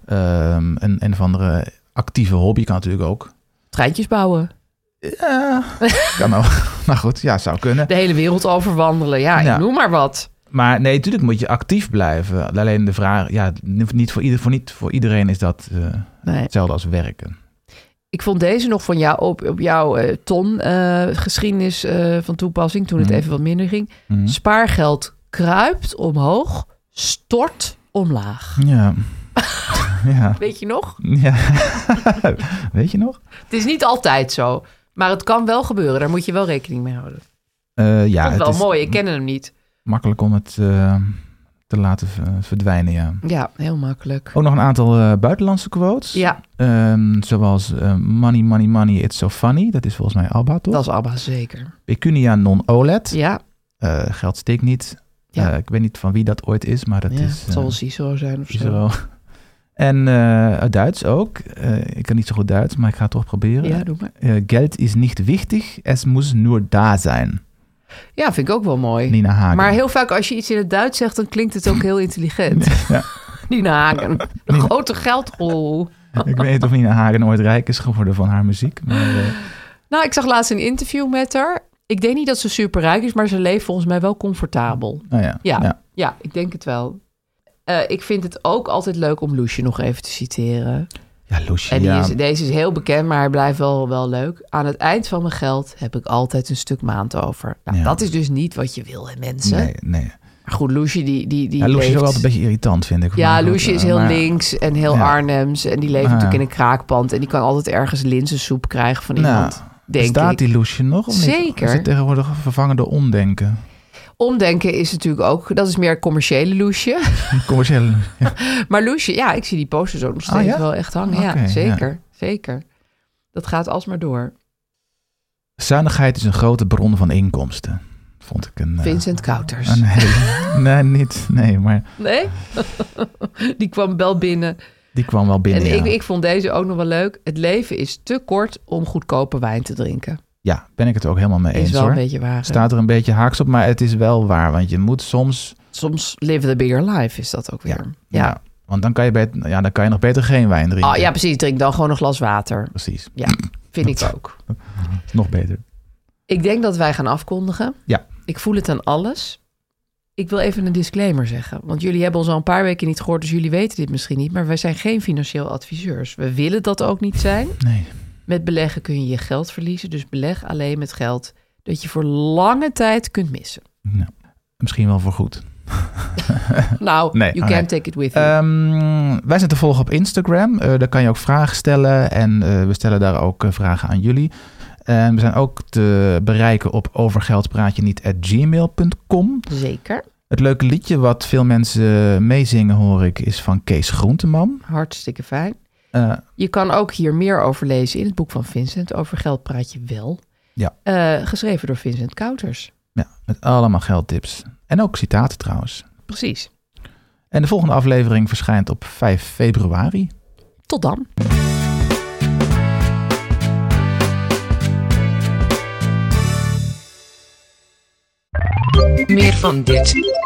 Speaker 2: ehm, een, een of andere actieve hobby kan natuurlijk ook.
Speaker 3: Treintjes bouwen,
Speaker 2: Ja, *laughs* kan ook. Maar goed, ja, zou kunnen.
Speaker 3: de hele wereld overwandelen. Ja,
Speaker 2: Ja.
Speaker 3: ik noem maar wat.
Speaker 2: Maar nee, natuurlijk moet je actief blijven. Alleen de vraag, ja, niet voor, ieder, voor, niet voor iedereen is dat eh,
Speaker 3: Nee.
Speaker 2: hetzelfde als werken.
Speaker 3: Ik vond deze nog van jou op, op jouw eh, ton eh, geschiedenis eh, van toepassing, toen het
Speaker 2: Mhm.
Speaker 3: even wat minder ging.
Speaker 2: Mhm.
Speaker 3: Spaargeld kruipt omhoog, stort omlaag.
Speaker 2: Ja. *laughs* ja.
Speaker 3: Weet je nog?
Speaker 2: Ja. *laughs* Weet je nog?
Speaker 3: Het is niet altijd zo, maar het kan wel gebeuren. Daar moet je wel rekening mee houden.
Speaker 2: Eh,
Speaker 3: Ja,
Speaker 2: ja,
Speaker 3: Vond het
Speaker 2: het
Speaker 3: wel
Speaker 2: is
Speaker 3: mooi, ik ken hem niet.
Speaker 2: makkelijk om het eh, te laten v- verdwijnen, ja.
Speaker 3: Ja, heel makkelijk.
Speaker 2: Ook nog een aantal eh, buitenlandse quotes.
Speaker 3: Ja,
Speaker 2: Ehm, zoals eh, money, money, money, it's so funny. Dat is volgens mij ABBA, toch?
Speaker 3: dat is Abba zeker.
Speaker 2: Pecunia non OLED.
Speaker 3: Ja,
Speaker 2: Eh, geld steekt niet.
Speaker 3: Ja.
Speaker 2: Eh, ik weet niet van wie dat ooit is, maar dat
Speaker 3: ja,
Speaker 2: is...
Speaker 3: het zal
Speaker 2: eh,
Speaker 3: wel Cicero zijn of zo.
Speaker 2: Cicero. En eh, uit Duits ook. Eh, ik kan niet zo goed Duits, maar ik ga het toch proberen.
Speaker 3: Ja, doe maar.
Speaker 2: Eh, geld is niet wichtig, es muss nur da zijn.
Speaker 3: Ja, vind ik ook wel mooi.
Speaker 2: Nina Hagen.
Speaker 3: Maar heel vaak als je iets in het Duits zegt, dan klinkt het ook heel intelligent. *laughs* Nina Hagen. De grote geldrol.
Speaker 2: *laughs* Ik weet niet of Nina Hagen ooit rijk is geworden van haar muziek. Maar, eh,
Speaker 3: Nou, ik zag laatst een interview met haar. Ik denk niet dat ze superrijk is, maar ze leeft volgens mij wel comfortabel.
Speaker 2: nou ja.
Speaker 3: Ja,
Speaker 2: ja.
Speaker 3: ja. ik denk het wel. Eh, ik vind het ook altijd leuk om Loesje nog even te citeren.
Speaker 2: Ja, Loesje,
Speaker 3: En die
Speaker 2: ja.
Speaker 3: is, deze is heel bekend, maar hij blijft wel, wel leuk. Aan het eind van mijn geld heb ik altijd een stuk maand over. Nou,
Speaker 2: Ja.
Speaker 3: Dat is dus niet wat je wil, hè, mensen.
Speaker 2: Nee, nee.
Speaker 3: Maar goed, Loesje die, die, die
Speaker 2: Ja, Loesje is
Speaker 3: leeft-
Speaker 2: ook altijd een beetje irritant, vind ik.
Speaker 3: Ja,
Speaker 2: Maar goed,
Speaker 3: Loesje is
Speaker 2: eh,
Speaker 3: heel
Speaker 2: maar-
Speaker 3: links en heel
Speaker 2: Ja.
Speaker 3: Arnhems. En die leeft
Speaker 2: Ah.
Speaker 3: natuurlijk in een kraakpand. En die kan altijd ergens linzensoep krijgen van
Speaker 2: Nou,
Speaker 3: iemand, denk
Speaker 2: bestaat
Speaker 3: ik.
Speaker 2: die Loesje nog? Of niet?
Speaker 3: Zeker.
Speaker 2: Is het tegenwoordig vervangen door omdenken? *laughs*
Speaker 3: Omdenken is natuurlijk ook... Dat is meer commerciële Loesje. *laughs*
Speaker 2: Commercieel. Ja.
Speaker 3: Maar Loesje, ja, ik zie die posters ook nog
Speaker 2: Ah,
Speaker 3: steeds
Speaker 2: ja?
Speaker 3: wel echt hangen.
Speaker 2: Oké,
Speaker 3: ja,
Speaker 2: ja.
Speaker 3: zeker. Zeker. Dat gaat alsmaar door.
Speaker 2: Nou, Zuinigheid is een grote bron van inkomsten. Vond ik een... eh,
Speaker 3: Vincent Kouters.
Speaker 2: *laughs* een hele- nee, niet. Nee, maar
Speaker 3: Nee? *laughs* die kwam wel binnen.
Speaker 2: die kwam wel binnen.
Speaker 3: en ik,
Speaker 2: ja.
Speaker 3: ik vond deze ook nog wel leuk. Het leven is te kort om goedkope wijn te drinken.
Speaker 2: Ja, ben ik het ook helemaal mee eens
Speaker 3: is wel
Speaker 2: hoor.
Speaker 3: een beetje waar. hè?
Speaker 2: Staat er een beetje haaks op, maar het is wel waar. Want je moet soms...
Speaker 3: Soms live the bigger life is dat ook weer.
Speaker 2: Ja. want dan kan, je bet- ja, dan kan je nog beter geen wijn drinken.
Speaker 3: Oh, ja, precies. Drink dan gewoon een glas water.
Speaker 2: Precies,
Speaker 3: Ja, vind ik ook.
Speaker 2: nog beter.
Speaker 3: Ik denk dat wij gaan afkondigen.
Speaker 2: Ja.
Speaker 3: Ik voel het aan alles. Ik wil even een disclaimer zeggen. Want jullie hebben ons al een paar weken niet gehoord, dus jullie weten dit misschien niet. Maar wij zijn geen financieel adviseurs. We willen dat ook niet zijn.
Speaker 2: Nee,
Speaker 3: Met beleggen kun je je geld verliezen. Dus beleg alleen met geld dat je voor lange tijd kunt missen.
Speaker 2: misschien wel voor goed.
Speaker 3: Nou,
Speaker 2: Nee,
Speaker 3: you
Speaker 2: oké.
Speaker 3: can take it with you.
Speaker 2: Ehm, wij zijn te volgen op Instagram. Eh, daar kan je ook vragen stellen. En eh, we stellen daar ook eh, vragen aan jullie. En we zijn ook te bereiken op overgeldpraatje niet at gmail.com.
Speaker 3: Zeker.
Speaker 2: Het leuke liedje wat veel mensen meezingen hoor ik is van Kees Groenteman.
Speaker 3: Hartstikke fijn.
Speaker 2: Eh,
Speaker 3: Je kan ook hier meer over lezen in het boek van Vincent. Over geld praat je wel.
Speaker 2: Ja.
Speaker 3: Eh, geschreven door Vincent Kouters.
Speaker 2: ja, met allemaal geldtips. En ook citaten trouwens.
Speaker 3: Precies.
Speaker 2: En de volgende aflevering verschijnt op 5 februari.
Speaker 3: Tot dan.
Speaker 4: Meer van dit.